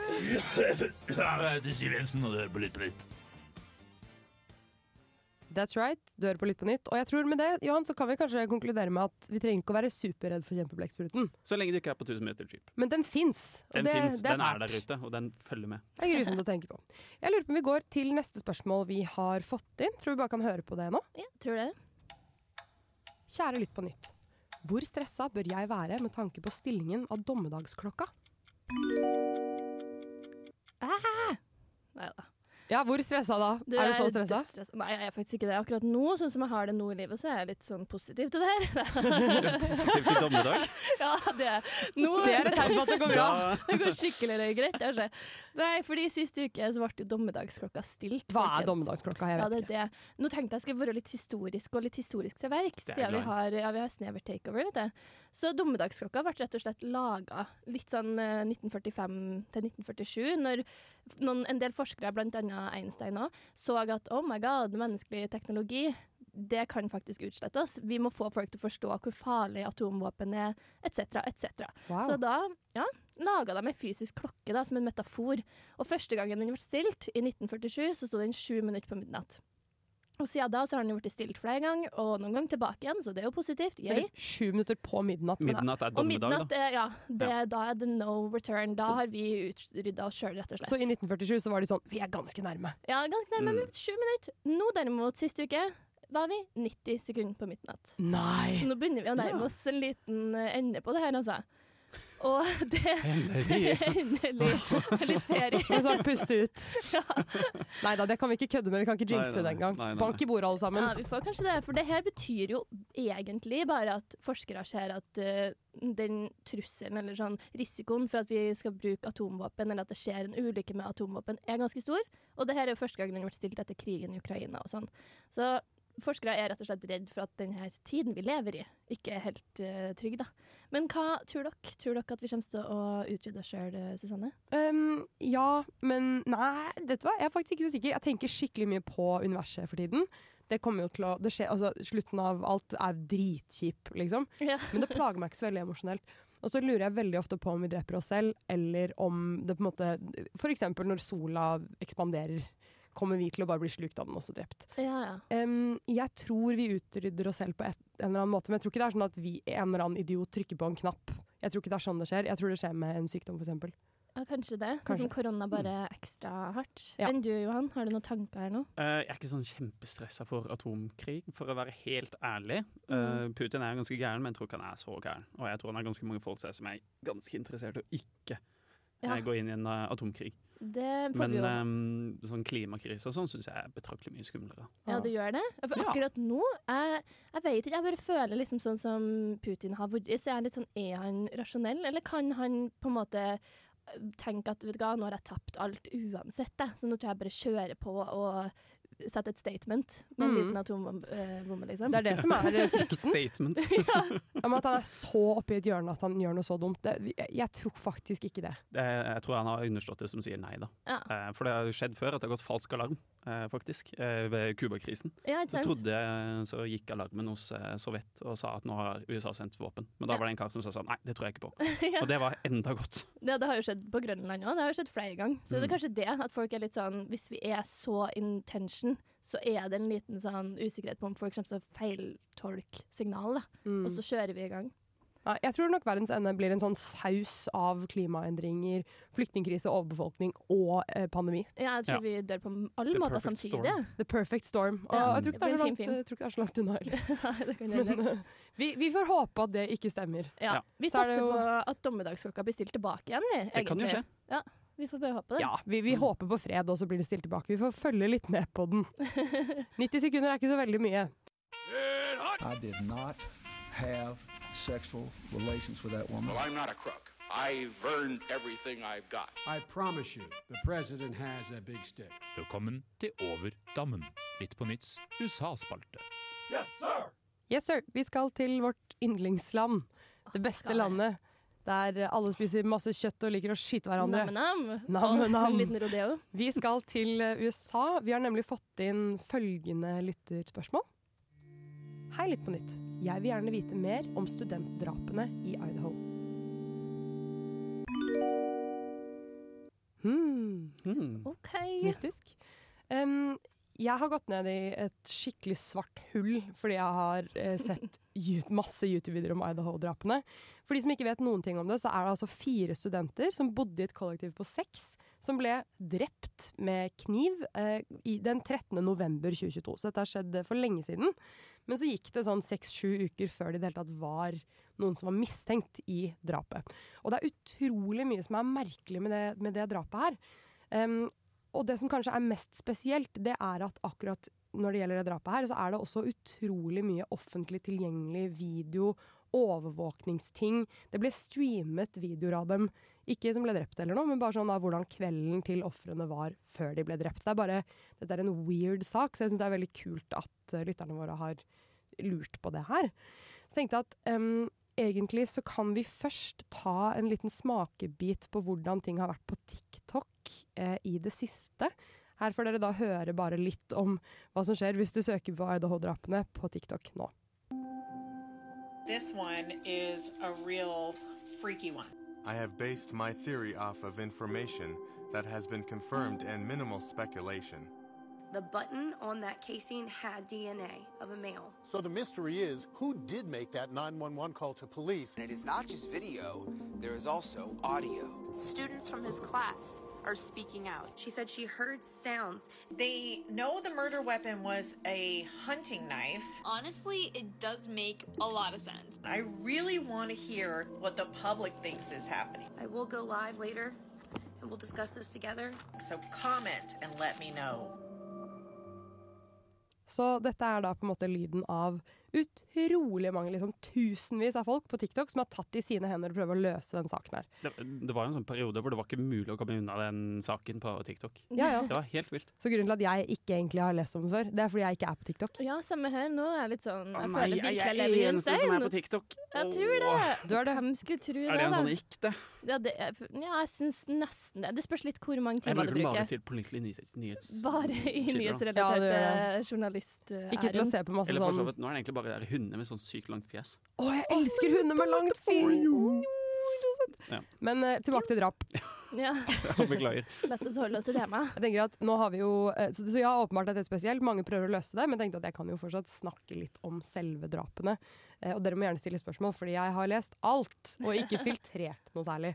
Speaker 5: That's right. Du hører på Lytt på nytt. Og jeg tror med det, Johan, så kan vi kanskje konkludere med at vi trenger ikke å være superredd for kjempeblekkpruten.
Speaker 7: Så lenge du ikke er på 1000 meter jeep.
Speaker 5: Men den fins.
Speaker 7: Den
Speaker 5: det,
Speaker 7: finnes,
Speaker 5: det er
Speaker 7: den er
Speaker 5: fælt.
Speaker 7: der ute, og den følger med.
Speaker 5: Det er grusomt å tenke på. Jeg lurer på om vi går til neste spørsmål vi har fått inn. Tror vi bare kan høre på det nå?
Speaker 6: Ja, tror det.
Speaker 5: Kjære Lytt på nytt. Hvor stressa bør jeg være med tanke på stillingen av dommedagsklokka?
Speaker 6: Ah! Nei da.
Speaker 5: Ja, hvor stressa da? er du så stressa?
Speaker 6: dødsstressa. Nei, jeg er faktisk ikke det akkurat nå. Sånn som jeg har det nå i livet, så er jeg litt sånn positiv til det
Speaker 7: Du
Speaker 6: her.
Speaker 7: er positiv til dommedag.
Speaker 6: ja, det er nå,
Speaker 5: Det er et tegn på at det går bra.
Speaker 6: Det går skikkelig greit, kanskje. Nei, fordi sist uke så ble jo dommedagsklokka stilt.
Speaker 5: Hva er
Speaker 6: folkens.
Speaker 5: dommedagsklokka? Jeg
Speaker 6: Ja,
Speaker 5: vet
Speaker 6: det er det. Nå tenkte jeg skulle være litt historisk og litt historisk til verks,
Speaker 5: Det er glad
Speaker 6: siden vi
Speaker 5: i.
Speaker 6: har, ja, vi har Snever Takeover. vet du. Så Dommedagsklokka ble rett og slett laga litt sånn eh, 1945 til 1947, når noen, en del forskere, bl.a. Einstein òg, så at oh my god, menneskelig teknologi det kan faktisk utslette oss. Vi må få folk til å forstå hvor farlig atomvåpen er, etc., etc.
Speaker 10: Wow.
Speaker 6: Så da ja, laga de ei fysisk klokke da, som en metafor. Og første gangen den ble stilt, i 1947, så sto den sju minutter på midnatt. Og siden da så har den jo blitt stilt flere ganger, og noen ganger tilbake igjen, så det er jo positivt.
Speaker 5: Eller
Speaker 6: Yay.
Speaker 5: Sju minutter på midnatt. men-
Speaker 7: Midnatt er dommedag,
Speaker 6: og midnatt,
Speaker 7: da.
Speaker 6: eh, ja, det,
Speaker 7: Ja.
Speaker 6: da er det no return. Da har vi utrydda oss sjøl, rett og slett.
Speaker 5: Så i 1947 så var de sånn Vi er ganske nærme.
Speaker 6: Ja, ganske nærme.
Speaker 5: Mm.
Speaker 6: men Sju minutter. Nå derimot, sist uke, var vi 90 sekunder på midnatt.
Speaker 5: Nei!
Speaker 6: Så nå begynner vi å nærme oss en liten eh, ende på det her, altså. Og det
Speaker 5: Endelig.
Speaker 6: Endelig. Litt ferie.
Speaker 5: Og så puste ut. Nei da, det kan vi ikke kødde med. Vi kan ikke jinxe
Speaker 6: Nei, nei,
Speaker 5: det engang.
Speaker 6: nei, nei, nei.
Speaker 5: Bank i bordet, alle sammen.
Speaker 6: Ja, vi får kanskje det, for det her betyr jo egentlig bare at forskere ser at eh, den trusselen eller sånn risikoen for at vi skal bruke atomvåpen, eller at det skjer en ulykke med atomvåpen, er ganske stor. Og det her er jo første gang den ble stilt etter krigen i Ukraina og sånn. Så forskere er rett og slett redd for at denne tiden vi lever i, ikke er helt eh, trygg, da. Men hva tror dere? Tror dere at vi kommer til å utvide oss sjøl, Susanne?
Speaker 5: Ehm, ja, men nei, vet du hva? Jeg er faktisk ikke så sikker. Jeg tenker skikkelig mye på universet for tiden. Det kommer jo til å, det skjer, altså Slutten av alt er dritkjip, liksom. Men det plager meg ikke så veldig emosjonelt. Og så lurer jeg veldig ofte på om vi dreper oss selv, eller om det på en måte F.eks. når sola ekspanderer, kommer vi til å bare bli slukt av den også drept.
Speaker 6: Ja, ja.
Speaker 5: Ehm, jeg tror vi utrydder oss selv på et, en eller annen måte, men jeg tror ikke det er sånn at vi en eller annen idiot trykker på en knapp. Jeg tror ikke det er sånn det skjer. Jeg tror det skjer med en sykdom, f.eks.
Speaker 6: Ja, kanskje det. Mm. Nå
Speaker 5: Kanskje.
Speaker 6: som korona bare er ekstra hardt.
Speaker 5: Ja.
Speaker 6: Enn du, Johan? Har du noen tanker her nå?
Speaker 7: Eh, jeg er ikke sånn kjempestressa for atomkrig, for å være helt ærlig. Eh,
Speaker 6: Mm.
Speaker 7: Putin er ganske gæren, men jeg tror ikke han er så gæren. Og jeg tror han har ganske mange folk seg som er ganske interessert i å ikke
Speaker 6: Ja.
Speaker 7: eh, gå inn i en eh, atomkrig.
Speaker 6: Det får
Speaker 7: Men
Speaker 6: vi jo.
Speaker 7: eh, sånn klimakrise og sånn syns jeg er betraktelig mye skumlere.
Speaker 6: Ja, du gjør det? For akkurat nå jeg, jeg vet ikke, jeg bare føler liksom sånn som Putin har vært. Så jeg er litt sånn, er han rasjonell, eller kan han på en måte eh, tenke at vet du hva, nå har jeg tapt alt uansett, jeg. så nå tror jeg bare kjører på og setter et statement med en
Speaker 5: Mm.
Speaker 6: liten atombombe, liksom.
Speaker 5: Det er det som er eh, frykten.
Speaker 7: Statement.
Speaker 5: Ja, men at han er så oppi et hjørne at han gjør noe så dumt. Det, jeg, jeg tror faktisk ikke det.
Speaker 7: Jeg, jeg tror han har understått det som sier nei, da.
Speaker 6: Ja.
Speaker 7: Eh, for det har jo skjedd før at det har gått falsk alarm, eh, faktisk, eh, ved Cuba-krisen.
Speaker 6: Ja, ikke
Speaker 7: Så
Speaker 6: sant?
Speaker 7: trodde jeg- så gikk alarmen hos eh, Sovjet og sa at nå har USA sendt våpen. Men da var det en kar som sa sånn nei, det tror jeg ikke på.
Speaker 6: Ja.
Speaker 7: Og det var enda godt.
Speaker 6: Ja, det har jo skjedd på Grønland òg. Det har jo skjedd flere ganger. Så det er
Speaker 7: Mm.
Speaker 6: kanskje det at folk er litt sånn Hvis vi er så in tension, så er det en liten sånn usikkerhet på om folk kommer til å feiltolke signal, da.
Speaker 5: Mm.
Speaker 6: Og så kjører vi i gang.
Speaker 5: Nei, jeg tror nok verdens ende blir en sånn saus av klimaendringer, flyktningkrise, overbefolkning og eh, pandemi.
Speaker 6: Ja, jeg tror
Speaker 5: Ja.
Speaker 6: vi dør på alle måter samtidig.
Speaker 5: The perfect storm. Og
Speaker 6: Ja,
Speaker 5: jeg tror ikke det er så
Speaker 6: det blir en fin
Speaker 5: langt,
Speaker 6: film.
Speaker 5: jeg tror ikke det er så langt unna heller.
Speaker 6: det kan hende.
Speaker 5: Men eh, vi, vi får håpe at det ikke stemmer.
Speaker 6: Ja. Vi
Speaker 5: Så er det
Speaker 6: satser
Speaker 5: jo-
Speaker 6: på at dommedagsklokka blir stilt tilbake igjen, vi.
Speaker 5: Det kan jo skje.
Speaker 6: egentlig. Ja, vi får bare håpe det.
Speaker 5: Ja, vi, vi håper på fred, og så blir det stilt tilbake. Vi får følge litt med på den. 90 sekunder er ikke så veldig mye.
Speaker 9: I did not have sexual relations with that woman.
Speaker 12: not a crook. I've earned everything I've got.
Speaker 13: I promise you, the president has a big stick.
Speaker 3: Velkommen til Over dammen. Litt på nytts USA-spalte.
Speaker 5: Yes, sir. Vi skal til vårt yndlingsland. Det beste landet. Der alle spiser masse kjøtt og liker å skyte hverandre.
Speaker 6: Nam-nam.
Speaker 5: Nam,
Speaker 6: Og
Speaker 5: nam.
Speaker 6: En liten rodeo.
Speaker 5: Vi skal til eh, USA. Vi har nemlig fått inn følgende lytterspørsmål. Hei, Lytt på nytt. Jeg vil gjerne vite mer om studentdrapene i Idaho. Hmm.
Speaker 6: OK.
Speaker 7: Hmm.
Speaker 6: Oh.
Speaker 5: Mystisk. Um, jeg har gått ned i et skikkelig svart hull fordi jeg har eh, sett ju- masse YouTube-videoer om Idaho-drapene. For de som ikke vet noen ting om det, så er det altså fire studenter som bodde i et kollektiv på seks, som ble drept med kniv eh, i den 13. november 2022. Så dette har skjedd eh, for lenge siden. Men så gikk det sånn seks-sju uker før det i det hele tatt var noen som var mistenkt i drapet. Og det er utrolig mye som er merkelig med det, med det drapet her. Um, og det som kanskje er mest spesielt, det er at akkurat når det gjelder det drapet her, så er det også utrolig mye offentlig tilgjengelig video, overvåkningsting. Det ble streamet videoer av dem, ikke som ble drept eller noe, men bare sånn av hvordan kvelden til ofrene var før de ble drept. Det er bare, dette er en weird sak, så jeg syns det er veldig kult at eh, lytterne våre har lurt på det her. Så tenkte jeg at ehm, em, egentlig så kan vi først ta en liten smakebit på hvordan ting har vært på TikTok eh, i det siste. Her får dere da høre bare litt om hva som skjer hvis du søker på IDH-drapene på TikTok nå.
Speaker 14: This one is a real freaky one.
Speaker 15: I have based my theory off of information that has been confirmed and minimal speculation.
Speaker 16: The button on that casing had DNA of a male.
Speaker 17: So the mystery is who did make that 911 call to police?
Speaker 18: And it is not just video, there is also audio.
Speaker 19: Students from his class are speaking out.
Speaker 16: She said she heard sounds.
Speaker 14: They know the murder weapon was a hunting knife.
Speaker 20: Honestly, it does make a lot of sense.
Speaker 14: I really want to hear what the public thinks is happening.
Speaker 16: I will go live later and we'll discuss this together.
Speaker 14: So comment and let me know.
Speaker 5: Så dette er da på en måte lyden av utrolig mange, liksom tusenvis av folk på TikTok som har tatt i sine hender og prøver å løse den saken her.
Speaker 7: Det, det var jo en sånn periode hvor det var ikke mulig å komme unna den saken på TikTok.
Speaker 5: Ja, ja.
Speaker 7: Det var helt vilt.
Speaker 5: Så grunnen til at jeg ikke egentlig har lest om det før, det er fordi jeg ikke er på TikTok.
Speaker 6: Ja, samme her. Nå er jeg litt sånn Jeg
Speaker 7: nei,
Speaker 6: føler
Speaker 7: jeg
Speaker 6: virkelig
Speaker 7: er
Speaker 6: jeg lever i en
Speaker 7: eneste som
Speaker 6: stein.
Speaker 7: er på TikTok.
Speaker 6: Jeg tror det.
Speaker 7: Åh.
Speaker 5: Du er det.
Speaker 6: Hvem skulle tro det,
Speaker 7: Er det en
Speaker 6: da?
Speaker 7: sånn ikte?
Speaker 6: Ja, det, er- ja jeg syns nesten det. Det spørs litt hvor mange
Speaker 7: Jeg
Speaker 6: timer du
Speaker 7: bruker den bare
Speaker 6: bruker.
Speaker 7: til pålitelig nyhets... nyhets
Speaker 6: Bare i
Speaker 7: kilder, da.
Speaker 5: Ja, det
Speaker 6: nyhetsrelaterte eh,
Speaker 5: gjør
Speaker 6: journalistæren.
Speaker 5: Ikke til å se på masse
Speaker 6: Altså
Speaker 7: Eller for så
Speaker 5: sånn-
Speaker 7: vidt, nå er det egentlig bare der hunder med sånn sykt langt fjes.
Speaker 5: Å, jeg elsker hunder med langt fint!
Speaker 7: Ja.
Speaker 5: Men eh, tilbake til drap.
Speaker 6: Ja.
Speaker 7: Beklager.
Speaker 6: Lett å holde oss til temaet.
Speaker 5: Jeg tenker at nå har vi jo, eh, så, så ja, åpenbart er dette spesielt. Mange prøver å løse det, men jeg tenkte at jeg kan jo fortsatt snakke litt om selve drapene. Eh, og dere må gjerne stille spørsmål, fordi jeg har lest alt og ikke filtrert noe særlig.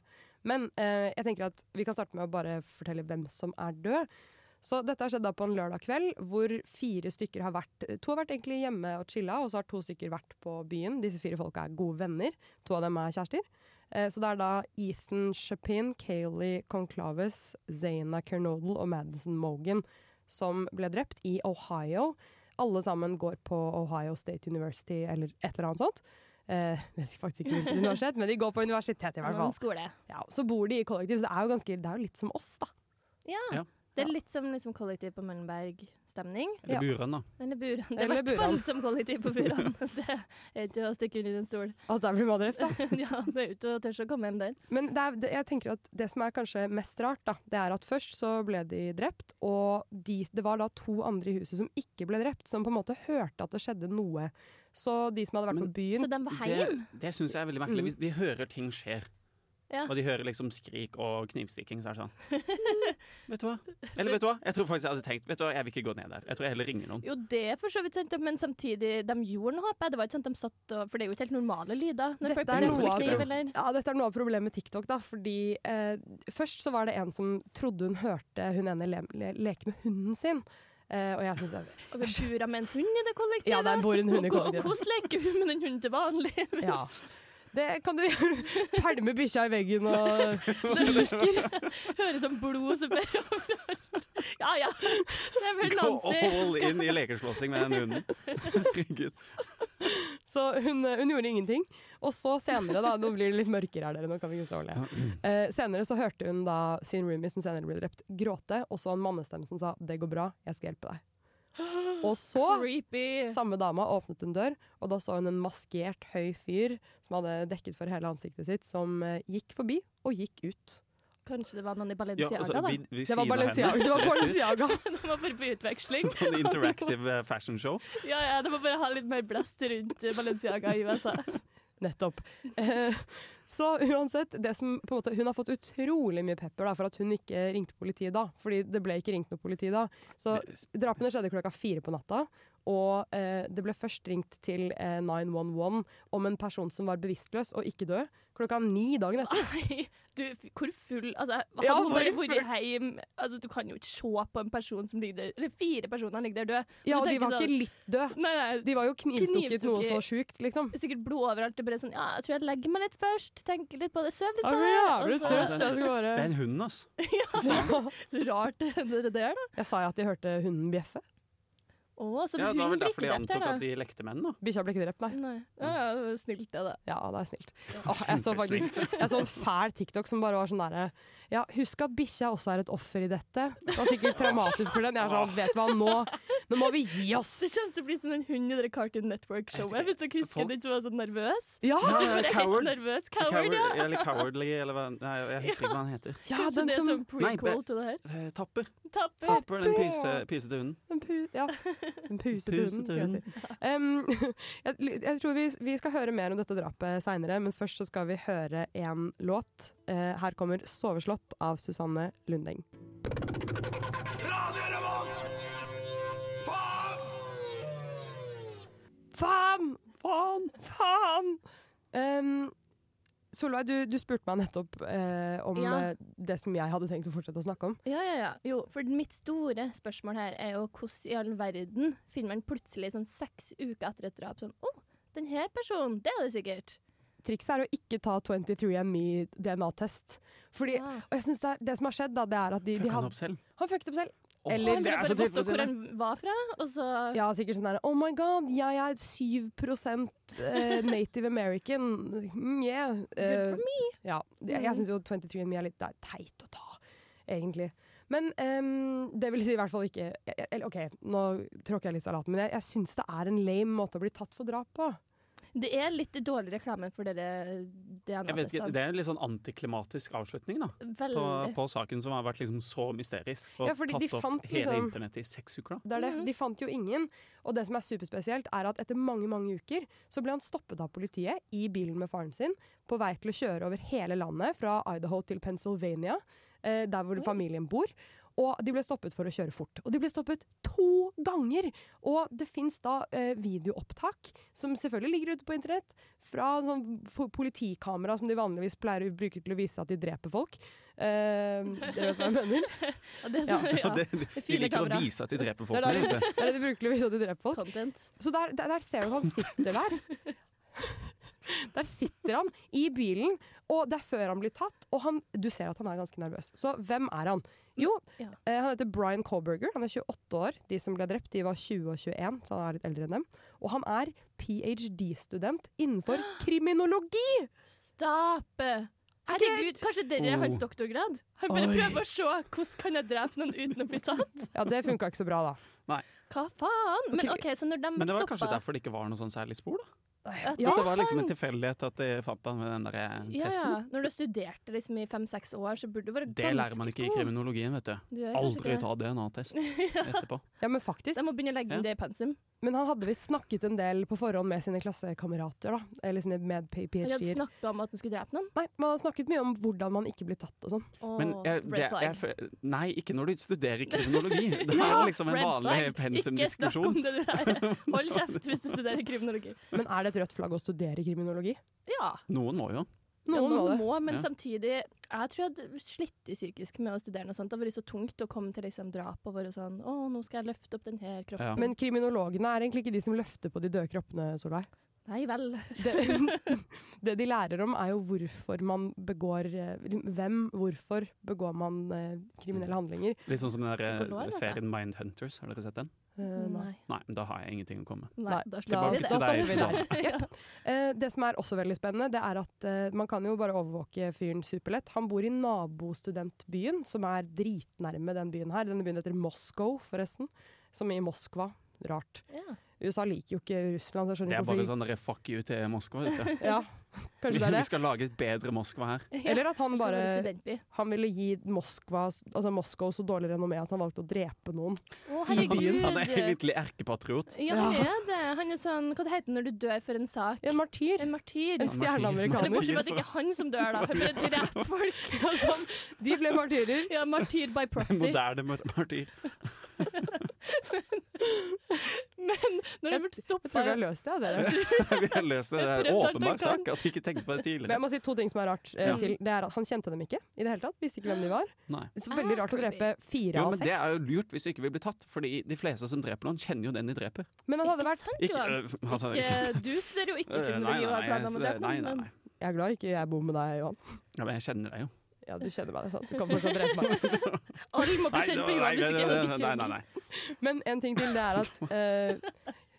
Speaker 5: Men eh, jeg tenker at vi kan starte med å bare fortelle hvem som er død. Så dette har skjedd da på en lørdag kveld, hvor fire stykker har vært To har vært egentlig hjemme og chilla, og så har to stykker vært på byen. Disse fire folka er gode venner. To av dem er kjærester. Eh, Så det er da Ethan Chapin, Kayleigh Conclaves, Zaina Kernodal og Madison Mogan som ble drept i Ohio. Alle sammen går på Ohio State University eller et eller annet sånt. Eh, vet faktisk ikke hvilket universitet, men de går på universitet i hvert fall.
Speaker 6: Noen skole.
Speaker 5: Ja, så bor de i kollektiv, så det er jo, ganske, det er jo litt som oss, da.
Speaker 6: Ja.
Speaker 7: Ja.
Speaker 6: Det er litt som liksom, kollektiv på Møllenberg-stemning.
Speaker 7: Eller buran, da.
Speaker 6: Eller Buran. Det er i
Speaker 5: Eller
Speaker 6: hvert fall
Speaker 5: Buran.
Speaker 6: som kollektiv på Buran. Det er ikke å stikke under en stol.
Speaker 5: At der blir man drept, da.
Speaker 6: ja, det er jo ikke å tørre å komme hjem der.
Speaker 5: Men det er, det, jeg tenker at det som er kanskje mest rart, da, det er at først så ble de drept, og de, det var da to andre i huset som ikke ble drept, som på en måte hørte at det skjedde noe. Så de som hadde vært på byen
Speaker 6: Så de var
Speaker 7: Det,
Speaker 6: heim?
Speaker 7: det syns jeg er veldig merkelig.
Speaker 5: Mm.
Speaker 7: Hvis de hører ting skjer,
Speaker 6: Ja.
Speaker 7: og de hører liksom skrik og knivstikking, så er det sånn mm, Vet du hva? Eller vet du hva? Jeg tror faktisk jeg hadde tenkt Vet du hva, jeg vil ikke gå ned der. Jeg tror jeg heller ringer noen.
Speaker 6: Jo, det er for så vidt sant, men samtidig, de gjorde noe, håper jeg. Det var ikke sånn at de satt og For det er jo ikke helt normale lyder. Når folk
Speaker 5: dette er,
Speaker 6: bruker
Speaker 5: noe av,
Speaker 6: kniv, eller
Speaker 5: ja, dette er noe av problemet med TikTok. da, fordi eh, Først så var det en som trodde hun hørte hun ene le le leke med hunden sin. Eh, og jeg synes jeg,
Speaker 6: Og vi bor med en hund i det kollektivet.
Speaker 5: Ja, der bor en hund i
Speaker 6: Og- og-
Speaker 5: kollektivet.
Speaker 6: Og hvordan leker hun med den hunden til vanlig? Hvis-
Speaker 5: ja. Det kan du pælme bikkja i veggen og skriker.
Speaker 6: Høres som blod som fer overalt. Ja ja, det er vel
Speaker 7: Gå all
Speaker 6: Nancy.
Speaker 7: in i lekeslåssing med den hunden. Herregud.
Speaker 5: Så hun, eh, hun gjorde ingenting. Og så senere, da Nå blir det litt mørkere her, dere. Nå kan vi ikke stå og le. Eh, senere så hørte hun da sin roomie, som senere ble drept, gråte, og så en mannestemme som sa 'det går bra, jeg skal hjelpe deg'. Og så,
Speaker 6: Creepy.
Speaker 5: samme dama åpnet en dør, og da så hun en maskert høy fyr som hadde dekket for hele ansiktet sitt, som eh, gikk forbi og gikk ut.
Speaker 6: Kanskje det var noen
Speaker 7: Ja,
Speaker 6: i Balenciaga,
Speaker 7: altså,
Speaker 6: da.
Speaker 7: vi- vi
Speaker 5: Det var
Speaker 7: sier noe
Speaker 5: Balenciaga.
Speaker 7: henne.
Speaker 5: Det var
Speaker 7: Rett ut.
Speaker 5: Balenciaga.
Speaker 6: De var bare på utveksling.
Speaker 7: Sånn interactive eh, fashion show.
Speaker 6: Ja, ja, de må bare ha litt mer blest rundt eh, Balenciaga i USA.
Speaker 5: Nettopp. Eh, Så uansett, det som på en måte, hun har fått utrolig mye pepper da, for at hun ikke ringte politiet da. Fordi det ble ikke ringt noe politi da. Så drapene skjedde klokka fire på natta. Og eh, det ble først ringt til eh, 911 om en person som var bevisstløs og ikke død. Klokka ni dagen
Speaker 6: Ah,
Speaker 5: etter.
Speaker 6: Du, f- hvor full Altså, hadde
Speaker 5: Ja,
Speaker 6: hun bare
Speaker 5: hvor
Speaker 6: vært hjemme altså, Du kan jo ikke se på en person som ligger der Eller fire personer ligger der død.
Speaker 5: Ja,
Speaker 6: Du
Speaker 5: og de
Speaker 6: tenker
Speaker 5: var ikke
Speaker 6: sånn,
Speaker 5: litt død.
Speaker 6: Nei, nei,
Speaker 5: De var jo knivstukket, noe så
Speaker 6: knivstukket.
Speaker 5: sjukt, liksom.
Speaker 6: Sikkert blod overalt. Det er bare sånn Ja, jeg tror jeg legger meg litt først. Tenker litt på det. Søv litt
Speaker 5: Jeg
Speaker 6: på
Speaker 5: blir
Speaker 6: det.
Speaker 5: jævlig
Speaker 6: og så-
Speaker 5: trøtt. Jeg skal
Speaker 7: Det er
Speaker 5: bare
Speaker 7: en hund, altså.
Speaker 6: Så rart det det der, da.
Speaker 5: Jeg sa jo at de hørte hunden bjeffe.
Speaker 6: Å, så
Speaker 7: Ja, det var vel
Speaker 6: hun blir
Speaker 7: derfor
Speaker 6: ikke
Speaker 7: de
Speaker 6: drept her,
Speaker 7: antok
Speaker 6: da.
Speaker 7: at de lekte menn, da.
Speaker 5: Bikkja ble ikke drept, nei.
Speaker 6: Nei. Ja, ja, snilt, det, da.
Speaker 5: Ja, det er snilt. Åh, jeg så faktisk
Speaker 6: Kjempesnilt.
Speaker 5: jeg så en fæl TikTok som bare var sånn derre Ja, husk at bikkja også er et offer i dette. Det var sikkert traumatisk for den. Jeg er sånn, vet du hva, nå, nå må vi gi oss!
Speaker 6: Det kjennes til å bli som den hunden i det Cartoon Network-showet. Hvis dere husker den som var så nervøs.
Speaker 5: Ja,
Speaker 6: Du
Speaker 7: ja,
Speaker 6: var helt
Speaker 7: Coward.
Speaker 6: Nervøs.
Speaker 7: Coward,
Speaker 6: Coward, ja.
Speaker 7: Eller Cowardly, eller hva Nei, jeg husker ikke hva han heter.
Speaker 5: Ja,
Speaker 6: Kanskje
Speaker 5: den
Speaker 6: det er
Speaker 5: som-
Speaker 6: som prequel
Speaker 7: Nei, be-
Speaker 6: til det her.
Speaker 7: Eh, Tapper.
Speaker 6: Tapper.
Speaker 7: Tapper, den pyse, pysete hunden.
Speaker 5: Den, pu ja. den pusete
Speaker 7: Pusete
Speaker 5: hunden. skal jeg
Speaker 7: hunden.
Speaker 5: si. Em, jeg, jeg tror vi, vi skal høre mer om dette drapet seinere, men først så skal vi høre en låt. Eh, her kommer 'Soveslått' av Susanne Lundeng. Faen! Faen! Faen! Em, Solveig, du, du spurte meg nettopp eh, om
Speaker 6: Ja.
Speaker 5: eh, det som jeg hadde tenkt å fortsette å snakke om.
Speaker 6: Ja, ja, ja. Jo, for mitt store spørsmål her er jo hvordan i all verden finner man plutselig sånn seks uker etter et drap sånn Å, den her personen, det er det sikkert.
Speaker 5: trikset er å ikke ta 23andMe-DNA-test. Fordi,
Speaker 6: Ah.
Speaker 5: og jeg synes det, er, det som har skjedd, da, det er at de, de
Speaker 7: Fucka han
Speaker 5: had-
Speaker 7: opp selv?
Speaker 5: Han fucket opp selv.
Speaker 7: Åh,
Speaker 6: Han ble
Speaker 7: altså
Speaker 6: bare gått opp hvor han var fra, og så
Speaker 5: Ja, sikkert sånn der Oh my god, jeg er 7 eh, native American. Mm, yeah.
Speaker 6: Good for Mm.
Speaker 5: me. Ja. Jeg, jeg syns jo 23andMe er litt det er teit å ta, egentlig. Men ehm, det vil si i hvert fall ikke jeg- Eller OK, nå tråkker jeg litt salaten, men jeg, jeg syns det er en lame måte å bli tatt for drap på.
Speaker 6: Det er litt dårlig reklame for dere
Speaker 7: Jeg vet ikke,
Speaker 6: DNA-testene.
Speaker 7: Det er en litt sånn antiklimatisk avslutning da på,
Speaker 6: Veldig.
Speaker 7: på saken som har vært liksom så mysterisk. Og
Speaker 5: Ja, fordi de
Speaker 7: tatt opp
Speaker 5: fant
Speaker 7: hele
Speaker 5: liksom-
Speaker 7: internettet i seks uker. da
Speaker 5: Det er det. De fant jo ingen. Og det som er superspesielt, er at etter mange mange uker så ble han stoppet av politiet i bilen med faren sin på vei til å kjøre over hele landet, fra Idaho til Pennsylvania, eh, der hvor familien bor. Og de ble stoppet for å kjøre fort. Og de ble stoppet to ganger! Og det fins da eh, videoopptak, som selvfølgelig ligger ute på internett, fra sånn po- politikamera som de vanligvis pleier å bruke til å vise at de dreper folk. Eh, dere vet hva jeg mener?
Speaker 6: Ja, det er så- ja.
Speaker 7: Det, de,
Speaker 6: Det er
Speaker 7: de
Speaker 6: fine
Speaker 7: liker
Speaker 6: kamera.
Speaker 7: å vise at de dreper
Speaker 5: Det
Speaker 7: folk.
Speaker 5: er det,
Speaker 7: vet
Speaker 5: det,
Speaker 7: du.
Speaker 5: er det de bruker til å vise at de dreper folk. Så der, der, der ser du at han sitter der. Der sitter han i bilen, og det er før han blir tatt. Og han, du ser at han er ganske nervøs. Så hvem er han? Jo,
Speaker 6: Ja.
Speaker 5: eh, han heter Brian Colberger. Han er 28 år. De som ble drept, de var 20 og 21, så han er litt eldre enn dem. Og han er ph.d.-student innenfor kriminologi!
Speaker 6: Stopp! Herregud, kanskje dere er hans
Speaker 5: Oh.
Speaker 6: doktorgrad? Han bare
Speaker 5: Oi.
Speaker 6: prøver å se hvordan kan jeg drepe noen uten å bli tatt.
Speaker 5: Ja, det funka ikke så bra, da.
Speaker 6: Hva faen? Men OK, så når de
Speaker 7: Men det var kanskje
Speaker 6: stoppa
Speaker 7: derfor det ikke var noe sånn særlig spor? da
Speaker 6: Mm, Ja,
Speaker 7: At det var liksom en
Speaker 6: sant.
Speaker 7: tilfeldighet at de fant han med den der eh,
Speaker 6: Ja, ja.
Speaker 7: testen.
Speaker 6: Når du har studert liksom, i fem-seks år, så burde du være
Speaker 7: Det lærer man ikke i
Speaker 6: god.
Speaker 7: kriminologien, vet du.
Speaker 6: Du gjør kanskje
Speaker 7: Aldri
Speaker 6: det.
Speaker 7: ta DNA-test
Speaker 6: Ja.
Speaker 7: etterpå.
Speaker 5: Ja, men faktisk.
Speaker 6: De må begynne å legge
Speaker 5: Ja.
Speaker 6: inn det i pensum.
Speaker 5: Men han hadde visst snakket en del på forhånd med sine klassekamerater, da. Eller sine med
Speaker 6: Han hadde
Speaker 5: ph.d.-er.
Speaker 6: snakka om at han skulle drepe noen.
Speaker 5: Nei, man har snakket mye om hvordan man ikke blir tatt og sånn.
Speaker 7: Men
Speaker 6: Åh,
Speaker 7: jeg,
Speaker 6: red
Speaker 7: det,
Speaker 6: flag.
Speaker 7: jeg, fø- nei, ikke når du studerer kriminologi. Det er
Speaker 5: Ja,
Speaker 7: liksom en
Speaker 6: red
Speaker 7: vanlig
Speaker 6: flag. Ikke snakk
Speaker 7: pensumdiskusjon.
Speaker 6: om det du er. Hold kjeft hvis du studerer kriminologi.
Speaker 5: Men er det et rødt flagg å studere kriminologi?
Speaker 6: Ja.
Speaker 7: Noen må jo.
Speaker 6: Noen, ja, noen
Speaker 5: det.
Speaker 6: må, men
Speaker 7: Ja.
Speaker 6: samtidig Jeg tror jeg hadde slitt i psykisk med å studere noe sånt. Det hadde vært så tungt å komme til liksom drap og være sånn Å, nå skal jeg løfte opp den her kroppen.
Speaker 5: Men kriminologene er egentlig ikke de som løfter på de døde kroppene, Solveig.
Speaker 6: Nei vel.
Speaker 5: Det de lærer om, er jo hvorfor man begår eh, Hvem, hvorfor begår man eh, kriminelle handlinger.
Speaker 7: Litt sånn som den der
Speaker 5: Psykolog,
Speaker 7: eh,
Speaker 5: altså.
Speaker 7: serien Mindhunters. Har dere sett den?
Speaker 5: Eh, nei.
Speaker 7: Nei, men da har jeg ingenting å komme med.
Speaker 5: Nei, da, da,
Speaker 7: Tilbake til deg, Susanne.
Speaker 5: stopper vi der. Jepp. Eh, det som er også veldig spennende, det er at eh, man kan jo bare overvåke fyren superlett. Han bor i nabostudentbyen, som er dritnærme den byen her. Denne byen heter Moskow, forresten. Som i Moskva. Rart. USA liker jo ikke Russland. Så jeg
Speaker 7: Det er
Speaker 5: skjønner ikke hvorfor
Speaker 7: bare
Speaker 5: de-
Speaker 7: sånn dere fuck you til Moskva. Vet du.
Speaker 5: Ja, kanskje det er
Speaker 7: Vi
Speaker 5: det.
Speaker 7: skal lage et bedre Moskva her.
Speaker 5: Eller at han
Speaker 6: så var det
Speaker 5: bare
Speaker 6: studentby.
Speaker 5: han ville gi Moskva, altså Moskå så dårlig renommé at han valgte å drepe noen.
Speaker 6: Å,
Speaker 5: I byen.
Speaker 7: Han er egentlig erkepatriot.
Speaker 6: Ja, han er det. Han er sånn Hva det heter når du dør for en sak?
Speaker 5: En martyr.
Speaker 6: En martyr.
Speaker 5: En stjerneamerikaner.
Speaker 6: Det er bortsett fra at det ikke er han som dør, da. Han bare dreper folk. Ja, sånn.
Speaker 5: De ble martyrer.
Speaker 6: Ja, martyr by
Speaker 7: En
Speaker 6: proxy.
Speaker 7: moderne mar- martyr.
Speaker 6: Men når det ble stoppa
Speaker 5: Jeg tror vi har løst det, dere.
Speaker 7: Vi har løst det. Det er en
Speaker 5: Jeg prøvde alt jeg
Speaker 7: åpenbar
Speaker 5: kan.
Speaker 7: sak at vi ikke tenkte på det
Speaker 5: Men jeg
Speaker 7: tidligere.
Speaker 5: må si to ting som er rart. eh,
Speaker 7: Ja.
Speaker 5: til. Det er at Han kjente dem ikke i det hele tatt. Visste ikke hvem de var.
Speaker 7: Nei.
Speaker 5: Så veldig rart å drepe fire
Speaker 7: Jo,
Speaker 5: av
Speaker 7: men Det er
Speaker 5: seks.
Speaker 7: jo lurt hvis du ikke vil bli tatt, Fordi de fleste som dreper noen, kjenner jo den de dreper.
Speaker 5: Men han hadde vært
Speaker 7: Ikke- Johan. øh, han sa det ikke.
Speaker 6: Ikke- Eh, Du studerer jo ikke
Speaker 7: Øh, nei,
Speaker 6: kriminologi og har
Speaker 7: nei,
Speaker 6: planer om å
Speaker 7: nei,
Speaker 6: drepe
Speaker 7: nei,
Speaker 6: noen,
Speaker 7: nei,
Speaker 6: men
Speaker 7: nei.
Speaker 5: Jeg er glad ikke jeg bor med deg, Johan.
Speaker 7: Ja, men jeg kjenner deg jo.
Speaker 5: Ja, du kjenner meg, det er sant. Du kan fortsatt drepe meg.
Speaker 6: alle må bli kjent med Johan hvis ikke
Speaker 7: nei,
Speaker 6: det
Speaker 7: nei,
Speaker 6: er
Speaker 7: nei,
Speaker 6: viktig.
Speaker 7: nei.
Speaker 5: Men en ting til, det er at eh,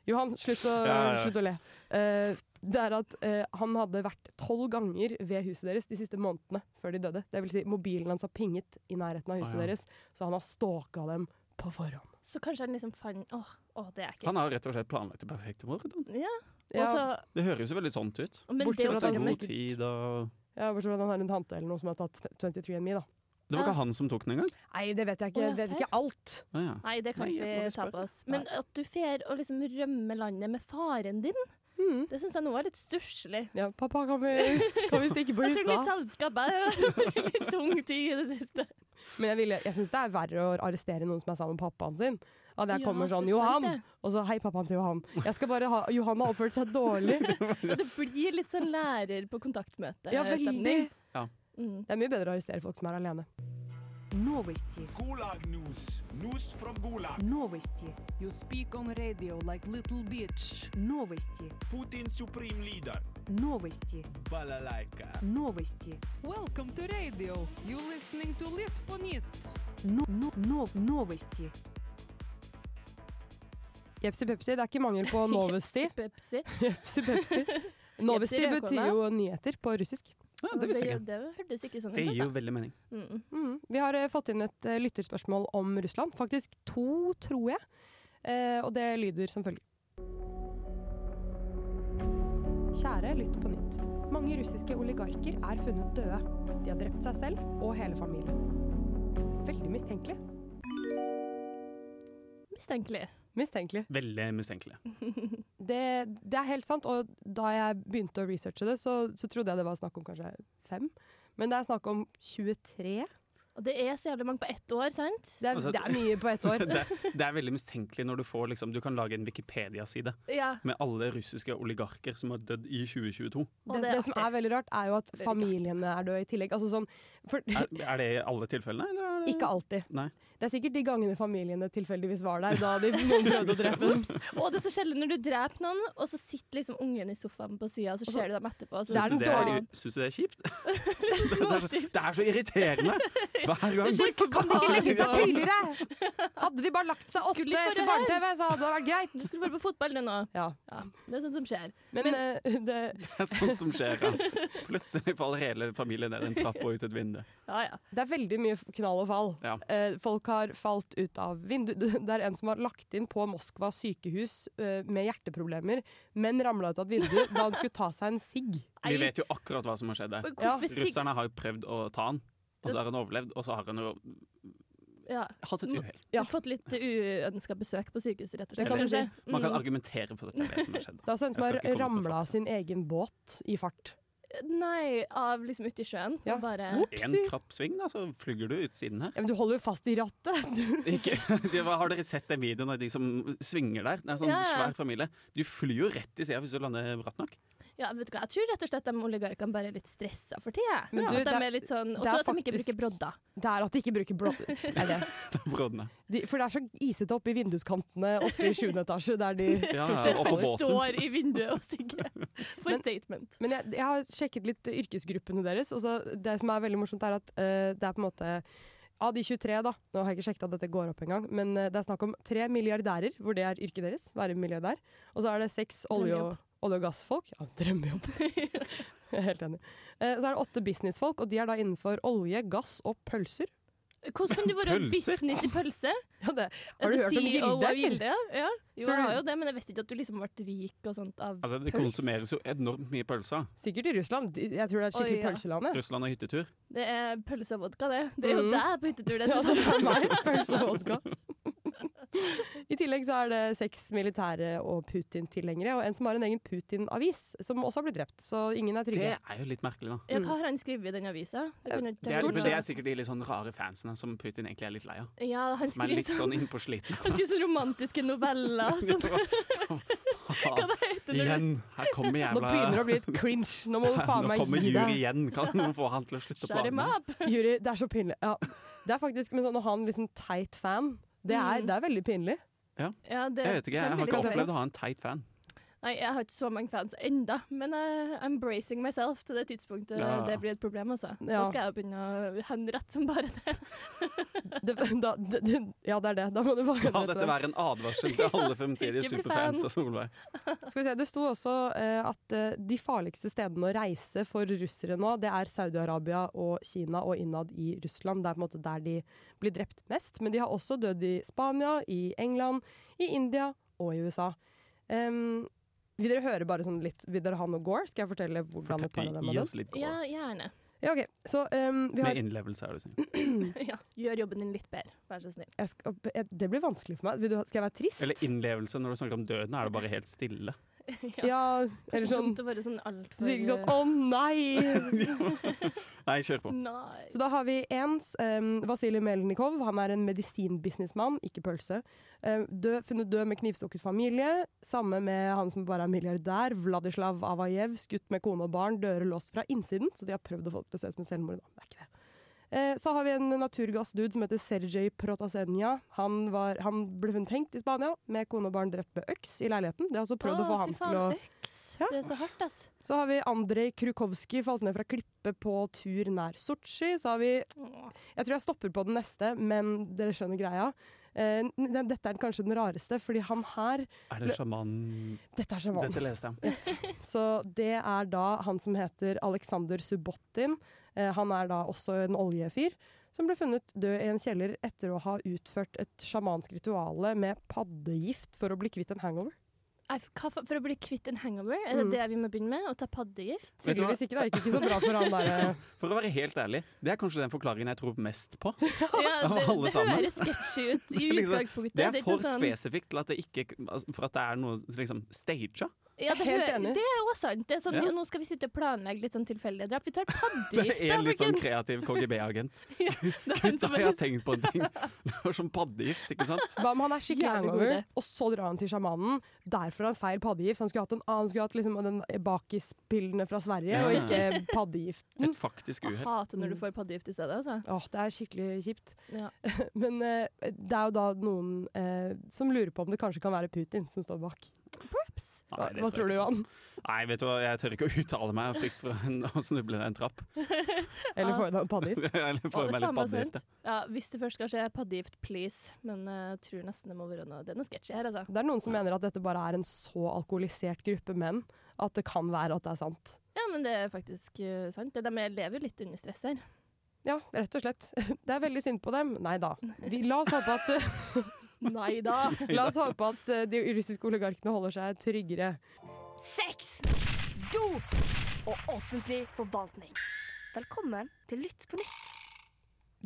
Speaker 5: Johan, slutt å,
Speaker 7: Ja, ja.
Speaker 5: slutt å le. Eh, det er at eh, han hadde vært tolv ganger ved huset deres de siste månedene før de døde. Det vil si, mobilen hans har pinget i nærheten av huset
Speaker 7: Å, ja.
Speaker 5: deres, så han har stalka dem på forhånd.
Speaker 6: Så kanskje han liksom fant Åh, åh, det er ekkelt.
Speaker 7: Han har rett og slett planlagt det perfekte mordet. han.
Speaker 6: Ja.
Speaker 5: Ja.
Speaker 6: Og så
Speaker 7: Det høres jo veldig sånt ut.
Speaker 6: Men det sånn-
Speaker 7: Bortsett
Speaker 6: var
Speaker 7: fra at det er
Speaker 5: faktisk-
Speaker 7: god tid og
Speaker 5: Ja, Bortsett fra at han har en tante eller noe som har tatt 23andMe, da.
Speaker 7: Det var ikke han som tok den engang?
Speaker 5: Nei, det vet jeg
Speaker 6: Å,
Speaker 5: ikke.
Speaker 6: ja,
Speaker 5: Jeg vet
Speaker 6: serr?
Speaker 5: ikke alt.
Speaker 7: Å, ja.
Speaker 6: Nei, det kan
Speaker 7: Nei, jeg må
Speaker 6: vi
Speaker 7: ikke
Speaker 6: ta
Speaker 7: spørre.
Speaker 6: på oss. Men at du fer og liksom rømmer landet med faren din,
Speaker 7: Mm.
Speaker 6: det syns jeg nå var litt stusslig.
Speaker 5: Ja, pappa, kan vi, kan vi stikke på
Speaker 6: Jeg trenger
Speaker 5: hytta?
Speaker 6: litt selskap her. Det har vært Litt tung tid i det siste.
Speaker 5: Men jeg, ville- jeg syns det er verre å arrestere noen som er sammen med pappaen sin. At jeg
Speaker 6: Ja,
Speaker 5: kommer sånn
Speaker 6: det er sant,
Speaker 5: 'Johan!'
Speaker 6: det.
Speaker 5: Og så 'Hei, pappaen til Johan'. Jeg skal bare ha Johan har oppført seg dårlig.
Speaker 6: Og det blir litt sånn lærer på kontaktmøte.
Speaker 5: Ja, veldig.
Speaker 7: Ja.
Speaker 6: Mm.
Speaker 5: Det er mye bedre å arrestere folk som er alene.
Speaker 11: Новости.
Speaker 21: Gulag news. News from Gulag.
Speaker 11: Новости. You speak on radio like little bitch. Новости.
Speaker 21: Putin's supreme leader.
Speaker 11: Новости.
Speaker 21: Balalaika.
Speaker 11: Новости. Welcome to radio. You listening to Litponit. No, no, no, новости.
Speaker 5: Jepsi pepsi, det er ikke mangel på novosti.
Speaker 6: Pepsi.
Speaker 5: Jepsi pepsi. Novosti betyr
Speaker 6: Jepsi rødkåla.
Speaker 5: jo nyheter på russisk.
Speaker 6: Og det, det hørtes ikke sånn ut.
Speaker 7: Det gir jo
Speaker 6: altså.
Speaker 7: veldig mening.
Speaker 6: Mm.
Speaker 5: Mm. Vi har eh, fått inn et eh, lytterspørsmål om Russland. Faktisk to, tror jeg. Eh, og det lyder som følger. Kjære Lytt på nytt. Mange russiske oligarker er funnet døde. De har drept seg selv og hele familien. Veldig mistenkelig.
Speaker 6: Mistenkelig.
Speaker 5: Mistenkelig.
Speaker 7: Veldig mistenkelig.
Speaker 5: Det, det er helt sant, og da jeg begynte å researche det, så, så trodde jeg det var snakk om kanskje fem. Men det er snakk om 23.
Speaker 6: Og det er så jævlig mange på ett år, sant?
Speaker 5: Det er,
Speaker 7: Altså,
Speaker 5: det er mye på ett år.
Speaker 7: det, det er veldig mistenkelig når du får liksom, Du kan lage en Wikipedia-side
Speaker 6: Ja.
Speaker 7: med alle russiske oligarker som har dødd i 2022.
Speaker 5: det, det, som er veldig rart, er jo at familiene er døde i tillegg. Altså sånn, for,
Speaker 7: Er, er det i alle tilfellene? Eller?
Speaker 5: ikke alltid.
Speaker 7: Nei.
Speaker 5: Det er sikkert de gangene familiene tilfeldigvis var der, da de, noen prøvde å drepe dem.
Speaker 6: Og det er så sjelden når du dreper noen, og så sitter liksom ungen i sofaen på sida, og så ser du dem etterpå. og Så
Speaker 7: Syns du, det er-
Speaker 6: Ja.
Speaker 7: syns du det er kjipt? det, er, det er så irriterende hver gang.
Speaker 5: Hvorfor kan de ikke legge seg tidligere? Hadde de bare lagt seg åtte
Speaker 6: Skulle ikke
Speaker 5: etter
Speaker 6: bare her.
Speaker 5: barne-TV, så hadde det vært greit.
Speaker 6: Du skulle bare på fotball det nå.
Speaker 5: Ja.
Speaker 6: Det er sånt som skjer.
Speaker 5: Men, eh, det,
Speaker 7: Det er sånt som skjer. Ja. Plutselig faller hele familien ned en trapp og ut et vindu.
Speaker 6: ja, ja.
Speaker 5: det er veldig mye knall og fall.
Speaker 7: Ja.
Speaker 5: Eh, folk har falt ut av vindu. Det er en som har lagt inn på Moskva sykehus eh, med hjerteproblemer, men ramla ut av et vindu da han skulle ta seg en sigg.
Speaker 7: Vi vet jo akkurat hva som har skjedd der.
Speaker 5: Men hvorfor sig-
Speaker 7: Russerne har jo prøvd å ta han, og så har han overlevd, og så har han jo
Speaker 6: Ja.
Speaker 7: hatt et uhell.
Speaker 6: Ja. Fått litt uønska besøk på sykehuset, rett og slett.
Speaker 5: kan du si.
Speaker 6: kanskje.
Speaker 7: Man kan
Speaker 6: Mm.
Speaker 7: argumentere for dette er det som har skjedd.
Speaker 5: Det er også en som
Speaker 7: Jeg
Speaker 5: har
Speaker 7: skal ikke komme på
Speaker 5: ramla av sin egen båt i fart.
Speaker 6: Eh, Nei, av liksom ute i sjøen. Ja. Bare
Speaker 5: Mm.
Speaker 7: En krapp sving, da, så flyger du ut siden her.
Speaker 5: Ja, men du holder jo fast i rattet!
Speaker 7: Ikke, det var, har dere sett den videoen av de som svinger der? Det er en sånn
Speaker 6: Ja, ja.
Speaker 7: svær familie. Du flyr jo rett i sida hvis du lander bratt nok.
Speaker 6: Ja, vet du hva, jeg tror rett og slett de oligarkene bare er litt stressa for tida.
Speaker 5: Men
Speaker 6: Ja.
Speaker 5: du,
Speaker 6: At de
Speaker 5: det-
Speaker 6: er litt sånn
Speaker 5: det
Speaker 6: Og så
Speaker 5: er
Speaker 6: at de ikke
Speaker 5: faktisk-
Speaker 6: bruker brodder.
Speaker 5: Det er at de ikke bruker blå... Det er det.
Speaker 7: Brodene.
Speaker 5: De, for det er så isete oppe i vinduskantene oppe i 7. etasje, der de
Speaker 7: Ja,
Speaker 5: stort sett
Speaker 7: oppå
Speaker 5: faller.
Speaker 7: båten. Står
Speaker 6: i vinduet og sigger. For statement.
Speaker 5: Men jeg, jeg har sjekket litt yrkesgruppene deres, og så det som er veldig morsomt, er at eh, det er på en måte av de 23, da, nå har jeg ikke sjekket at dette går opp engang, men eh, det er snakk om tre milliardærer, hvor det er yrket deres, være milliardær. Og så er det seks olje- og,
Speaker 22: Drømmejobb.
Speaker 5: olje- og gassfolk. Ja, drømmejobb. Jeg er Helt enig. Eh, så er det åtte businessfolk, og de er da innenfor olje, gass og pølser.
Speaker 6: Hvordan kan du være
Speaker 5: Pølser?
Speaker 6: business i pølse?
Speaker 5: Ja, det. Har du
Speaker 6: Er det
Speaker 5: hørt om
Speaker 6: CEO E av
Speaker 5: Gilde, eller?
Speaker 6: Gilde? Ja. Jo,
Speaker 5: Tror
Speaker 6: jeg
Speaker 5: du-
Speaker 6: har jo det, men jeg vet ikke at du liksom ble rik og sånt av
Speaker 7: Altså, det
Speaker 6: pølse.
Speaker 7: konsumeres jo enormt mye pølser.
Speaker 5: Sikkert i Russland. De- Jeg tror det er et skikkelig
Speaker 6: Oi, ja.
Speaker 5: pølseland. ja.
Speaker 7: Russland og hyttetur.
Speaker 6: Det er pølse og vodka, det. Det er sånn. jo
Speaker 7: Mm.
Speaker 5: Mhm.
Speaker 6: deg på hyttetur, det.
Speaker 5: Ja, det er
Speaker 6: Susanne.
Speaker 5: meg, pølse og vodka. I tillegg så er det seks militære og Putin-tilhengere, og en som har en egen Putin-avis, som også har blitt drept. Så ingen er
Speaker 7: Det
Speaker 5: trygge.
Speaker 7: er jo litt merkelig, da.
Speaker 6: Ja, hva har han skrevet i den avisa? Det kan jeg ikke
Speaker 7: Det er,
Speaker 6: tenke
Speaker 7: men
Speaker 6: på.
Speaker 7: det er sikkert de litt sånn rare fansene som Putin egentlig er litt lei av.
Speaker 6: Ja, han
Speaker 7: Som er
Speaker 6: skriver
Speaker 7: litt sånn
Speaker 6: sånn,
Speaker 7: innpå sliten.
Speaker 6: han skriver sånn romantiske noveller. Sånn. Hva det heter det?
Speaker 7: Igjen! Her kommer
Speaker 5: Nå
Speaker 7: jævla
Speaker 5: begynner det å bli litt cringe. Nå må du faen
Speaker 7: Nå
Speaker 5: meg
Speaker 7: kommer
Speaker 5: gi
Speaker 7: Juri
Speaker 5: deg.
Speaker 7: igjen. Kan noen få han til å slutte å
Speaker 6: Shut him
Speaker 7: plane?
Speaker 6: up!
Speaker 5: Juri, det er så pinlig. Ja. Det er faktisk, men sånn å ha en liksom teit fan, det er,
Speaker 6: Mm.
Speaker 5: det er veldig pinlig.
Speaker 7: Ja.
Speaker 6: Ja, det
Speaker 7: Jeg vet ikke,
Speaker 6: kan
Speaker 7: jeg har
Speaker 6: bli
Speaker 7: ikke
Speaker 6: litt
Speaker 7: opplevd å
Speaker 6: sånn.
Speaker 7: ha en teit fan.
Speaker 6: Nei, jeg har ikke så mange fans enda, men jeg I'm bracing myself til det tidspunktet
Speaker 7: Ja.
Speaker 6: det blir et problem, altså. Da
Speaker 5: Ja.
Speaker 6: skal jeg jo begynne å henrette som bare det.
Speaker 5: Det, da, det, det- ja, det er det. Da må du bare
Speaker 7: La dette være en advarsel til alle fremtidige
Speaker 5: Ikke bli
Speaker 7: superfans
Speaker 5: fan.
Speaker 7: av Solveig.
Speaker 5: Skal vi se, Det sto også eh, at eh, de farligste stedene å reise for russere nå, det er Saudi-Arabia og Kina og innad i Russland. Det er på en måte der de blir drept mest. Men de har også dødd i Spania, i England, i India og i USA. Em, Ehm, vil dere høre bare sånn litt Vil dere ha noe gore? Skal jeg fortelle hvordan et par av dem
Speaker 7: Gi
Speaker 5: har
Speaker 7: oss
Speaker 5: dødd?
Speaker 7: litt
Speaker 6: Ja, gjerne.
Speaker 5: Ja, ok. Så em, vi har
Speaker 7: Med innlevelse, er du snill.
Speaker 6: ja. Gjør jobben din litt bedre, vær så snill.
Speaker 5: jeg skal, jeg, Det blir vanskelig for meg. Vil du, ha- skal jeg være trist?
Speaker 7: Eller innlevelse, når du snakker om døden, er det bare helt stille.
Speaker 5: ja.
Speaker 6: Kanskje
Speaker 5: eller sånn
Speaker 6: dumt å være sånn
Speaker 5: Så
Speaker 6: altfor
Speaker 5: sier ikke sånn 'Å nei!'
Speaker 7: Nei, kjør på.
Speaker 6: Nei.
Speaker 5: Så da har vi en, um, Vasilij Melnikov, han er en medisinbusinessmann, ikke pølse. Eh, død, funnet død med knivstukket familie. Samme med han som bare er milliardær, Vladislav Avajev. Skutt med kone og barn, dører låst fra innsiden. Så de har prøvd å få det til å se ut som et selvmord. Da. Det er ikke det. Eh, Så har vi en naturgassdude som heter Sergej Protasenia. Han, var, han ble funnet hengt i Spania med kone og barn drept med øks i leiligheten. De har også prøvd å få
Speaker 6: Å,
Speaker 5: han
Speaker 6: fy faen,
Speaker 5: til å
Speaker 6: øks. Det er så hardt, ass.
Speaker 5: så har vi Andrej Krukovskij falt ned fra klippe på tur nær Sotsji. Så har vi Jeg tror jeg stopper på den neste, men dere skjønner greia. Eh, n- den- dette er kanskje den rareste, fordi han her
Speaker 7: Er det sjaman
Speaker 5: Dette er sjaman.
Speaker 7: Dette leste jeg.
Speaker 5: Så det er da han som heter Aleksander Subottin. Eh, han er da også en oljefyr. Som ble funnet død i en kjeller etter å ha utført et sjamansk rituale med paddegift for å bli kvitt en hangover.
Speaker 6: Nei, f- hva fa- For å bli kvitt en hangover, er det
Speaker 5: Mm.
Speaker 6: det vi må begynne med? Å ta paddegift?
Speaker 7: Vet du hva?
Speaker 5: Tydeligvis ikke, da. Gikk ikke så bra for han eh. derre
Speaker 7: For å være helt ærlig, det er kanskje den forklaringen jeg tror mest på.
Speaker 6: Ja,
Speaker 7: Av
Speaker 6: det,
Speaker 7: alle
Speaker 6: det
Speaker 7: sammen.
Speaker 6: høres sketchy ut i
Speaker 7: Det er liksom-
Speaker 6: utgangspunktet.
Speaker 7: det er
Speaker 6: ikke
Speaker 7: for
Speaker 6: sånn-
Speaker 7: spesifikt til at det ikke altså, For at det er noe liksom staged.
Speaker 6: Ja, det,
Speaker 5: Helt
Speaker 6: hø-
Speaker 5: enig.
Speaker 6: det er også sant. Det er sånn,
Speaker 7: Ja.
Speaker 6: jo, nå skal vi sitte og planlegge litt sånn tilfeldige drap. Vi tar
Speaker 7: Det
Speaker 6: paddegift,
Speaker 7: er
Speaker 6: da,
Speaker 7: en litt sånn kreativ KGB-agent. Gutta, jeg har tenkt på en ting. Det var som paddegift, ikke sant?
Speaker 5: Hva om han er skikkelig
Speaker 6: Jævlig god
Speaker 5: hangover,
Speaker 6: idé.
Speaker 5: og så drar han til sjamanen. Derfor har han feil paddegift. så Han skulle hatt en annen, han skulle hatt liksom den bakispillene fra Sverige,
Speaker 7: Ja.
Speaker 5: og ikke paddegiften.
Speaker 7: Et faktisk uhell.
Speaker 6: Hater når du får paddegift i stedet, altså.
Speaker 5: Åh, det er skikkelig kjipt.
Speaker 6: Ja.
Speaker 5: Men eh, det er jo da noen eh, som lurer på om det kanskje kan være Putin som står bak.
Speaker 6: Perhaps.
Speaker 5: Hva,
Speaker 7: Nei, det
Speaker 5: hva
Speaker 7: tror
Speaker 5: tror du,
Speaker 7: jeg
Speaker 5: Johan?
Speaker 7: Nei, vet du hva, jeg tør ikke å uttale meg av frykt for en, å snuble ned en trapp.
Speaker 5: Eller får han paddegift?
Speaker 7: Eller få i
Speaker 6: Å,
Speaker 7: meg
Speaker 6: det er faen
Speaker 7: litt
Speaker 6: meg
Speaker 7: paddegift.
Speaker 6: sant. Ja, hvis det først skal skje, paddegift, please. Men eh, jeg tror nesten det må være noe Det er noe sketchy her, altså.
Speaker 5: Det er noen som mener at dette bare er en så alkoholisert gruppe menn at det kan være at det er sant.
Speaker 6: Ja, men det er faktisk eh, sant. Det- De lever jo litt under stress her.
Speaker 5: Ja, rett og slett. Det er veldig synd på dem. Nei da. Vi, la oss håpe at
Speaker 6: Nei da.
Speaker 5: La oss håpe at eh, de russiske oligarkene holder seg tryggere.
Speaker 2: Sex, dop og offentlig forvaltning. Velkommen til Lytt på nytt.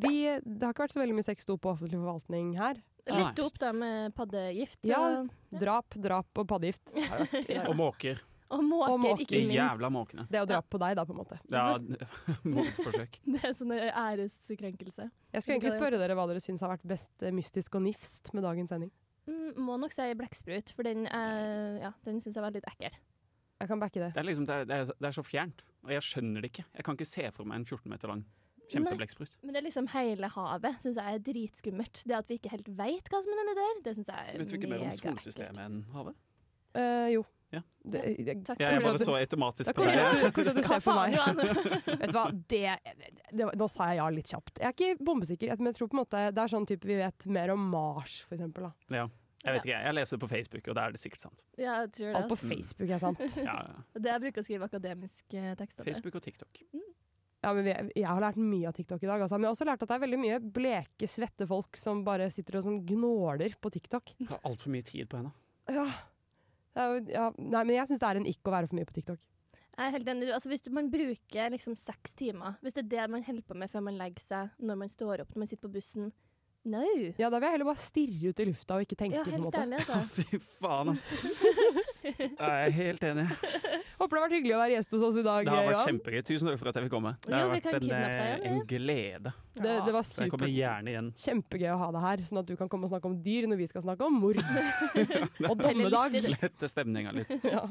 Speaker 5: Vi, det har ikke vært så veldig mye sex dop og offentlig forvaltning her.
Speaker 6: Litt opp da med paddegift.
Speaker 5: Ja,
Speaker 6: og-
Speaker 5: drap, drap og paddegift.
Speaker 7: Ja. Og måker.
Speaker 6: Og måker,
Speaker 5: Og måker.
Speaker 6: ikke
Speaker 7: De
Speaker 6: minst.
Speaker 7: jævla måkene.
Speaker 5: Det er jo drap på deg, da, på en måte.
Speaker 7: Ja, mordforsøk.
Speaker 6: Det er sånn eh, æreskrenkelse.
Speaker 5: Jeg skulle egentlig spørre dere hva dere syns har vært best eh, mystisk og nifst med dagens sending.
Speaker 6: Mm, må nok si blekksprut, for den, eh, ja, den syns jeg var litt ekkel.
Speaker 5: Jeg kan backe det.
Speaker 7: Det er, liksom, det, er, det, er, det er så fjernt. Og jeg skjønner det ikke. Jeg kan ikke se for meg en 14 meter lang kjempeblekksprut.
Speaker 6: Men det er liksom hele havet syns jeg er dritskummelt. Det at vi ikke helt veit hva som er nedi der, det syns jeg er
Speaker 7: Vet du ikke mer om
Speaker 6: Eh, mega
Speaker 7: solsystemet enn havet?
Speaker 5: Eh, jo.
Speaker 7: Ja.
Speaker 5: Det, eh, det-
Speaker 6: Takk.
Speaker 7: Jeg, jeg bare så
Speaker 5: Det er
Speaker 7: automatisk på
Speaker 5: koselig at du-
Speaker 7: deg.
Speaker 5: koselig at du ser på
Speaker 6: faen,
Speaker 5: meg.
Speaker 6: Johan?
Speaker 5: Vet du hva, det, det, nå sa jeg ja litt kjapt. Jeg er ikke bombesikker, men jeg tror på en måte det er sånn type vi vet mer om Mars, for eksempel. Da.
Speaker 7: Ja. Jeg vet ikke, jeg leser det på Facebook, og da er det sikkert sant.
Speaker 6: Ja, jeg tror det. altså.
Speaker 5: Alt på
Speaker 6: ass.
Speaker 5: Facebook er sant.
Speaker 7: Ja, ja.
Speaker 6: Det jeg bruker å skrive akademiske tekster til.
Speaker 7: Facebook og TikTok.
Speaker 5: Ja, men vi- jeg har lært mye av TikTok i dag, altså. men jeg har også lært at det er veldig mye bleke, svette folk som bare sitter og sånn gnåler på TikTok.
Speaker 7: Det er altfor mye tid på henne.
Speaker 5: Ja. Det er jo- ja. Nei, men jeg syns det er en ikk å være for mye på TikTok.
Speaker 6: Jeg er helt enig. Altså, hvis du, man bruker liksom seks timer, hvis det er det man holder på med før man legger seg, når man står opp, når man sitter på bussen No!
Speaker 5: Ja, da vil jeg heller bare stirre ut i lufta og ikke tenke.
Speaker 6: Ja,
Speaker 5: på en
Speaker 6: helt
Speaker 5: måte.
Speaker 6: ærlig, altså.
Speaker 7: Faen, altså. Jeg er helt enig.
Speaker 5: Håper det har vært hyggelig å være gjest hos oss i dag.
Speaker 7: Det har
Speaker 5: Johan.
Speaker 7: vært kjempegøy. Tusen takk for at jeg fikk komme. Det
Speaker 5: Jo,
Speaker 7: har
Speaker 5: vi
Speaker 7: vært
Speaker 5: kan
Speaker 7: en,
Speaker 5: kidnappe deg
Speaker 7: eh,
Speaker 5: igjen,
Speaker 7: en glede.
Speaker 5: Det, det var
Speaker 7: Så jeg
Speaker 5: supert.
Speaker 7: kommer gjerne igjen.
Speaker 5: Kjempegøy å ha deg her, sånn at du kan komme og snakke om dyr når vi skal snakke om mord. og dommedag.
Speaker 7: Lette stemninga litt.
Speaker 5: ja.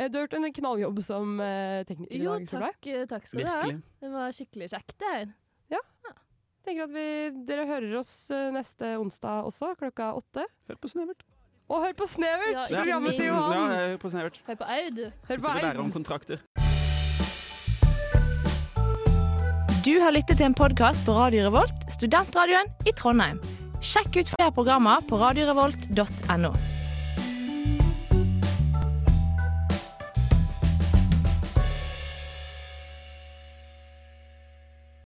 Speaker 5: Eh, Du har gjort en knalljobb som eh, tekniker i
Speaker 6: Jo,
Speaker 5: dag, Solveig.
Speaker 6: takk, eh, takk skal du ha.
Speaker 5: Virkelig.
Speaker 6: Det var skikkelig kjekt, det her.
Speaker 5: Tenker at vi, dere hører oss eh, neste onsdag også, klokka åtte.
Speaker 7: Hør på Snevert.
Speaker 5: Og hør på Snevert!
Speaker 6: Ja, ikke
Speaker 5: programmet til
Speaker 6: minst.
Speaker 5: Johan!
Speaker 7: Ja, jeg hører på Snevert.
Speaker 6: Hør på Aud.
Speaker 7: Vi
Speaker 5: Hør på
Speaker 7: skal lære om
Speaker 5: Aids.
Speaker 7: kontrakter.
Speaker 1: Du har lyttet til en podkast på Radio Revolt, studentradioen i Trondheim. Sjekk ut flere programmer på radiorevolt.no.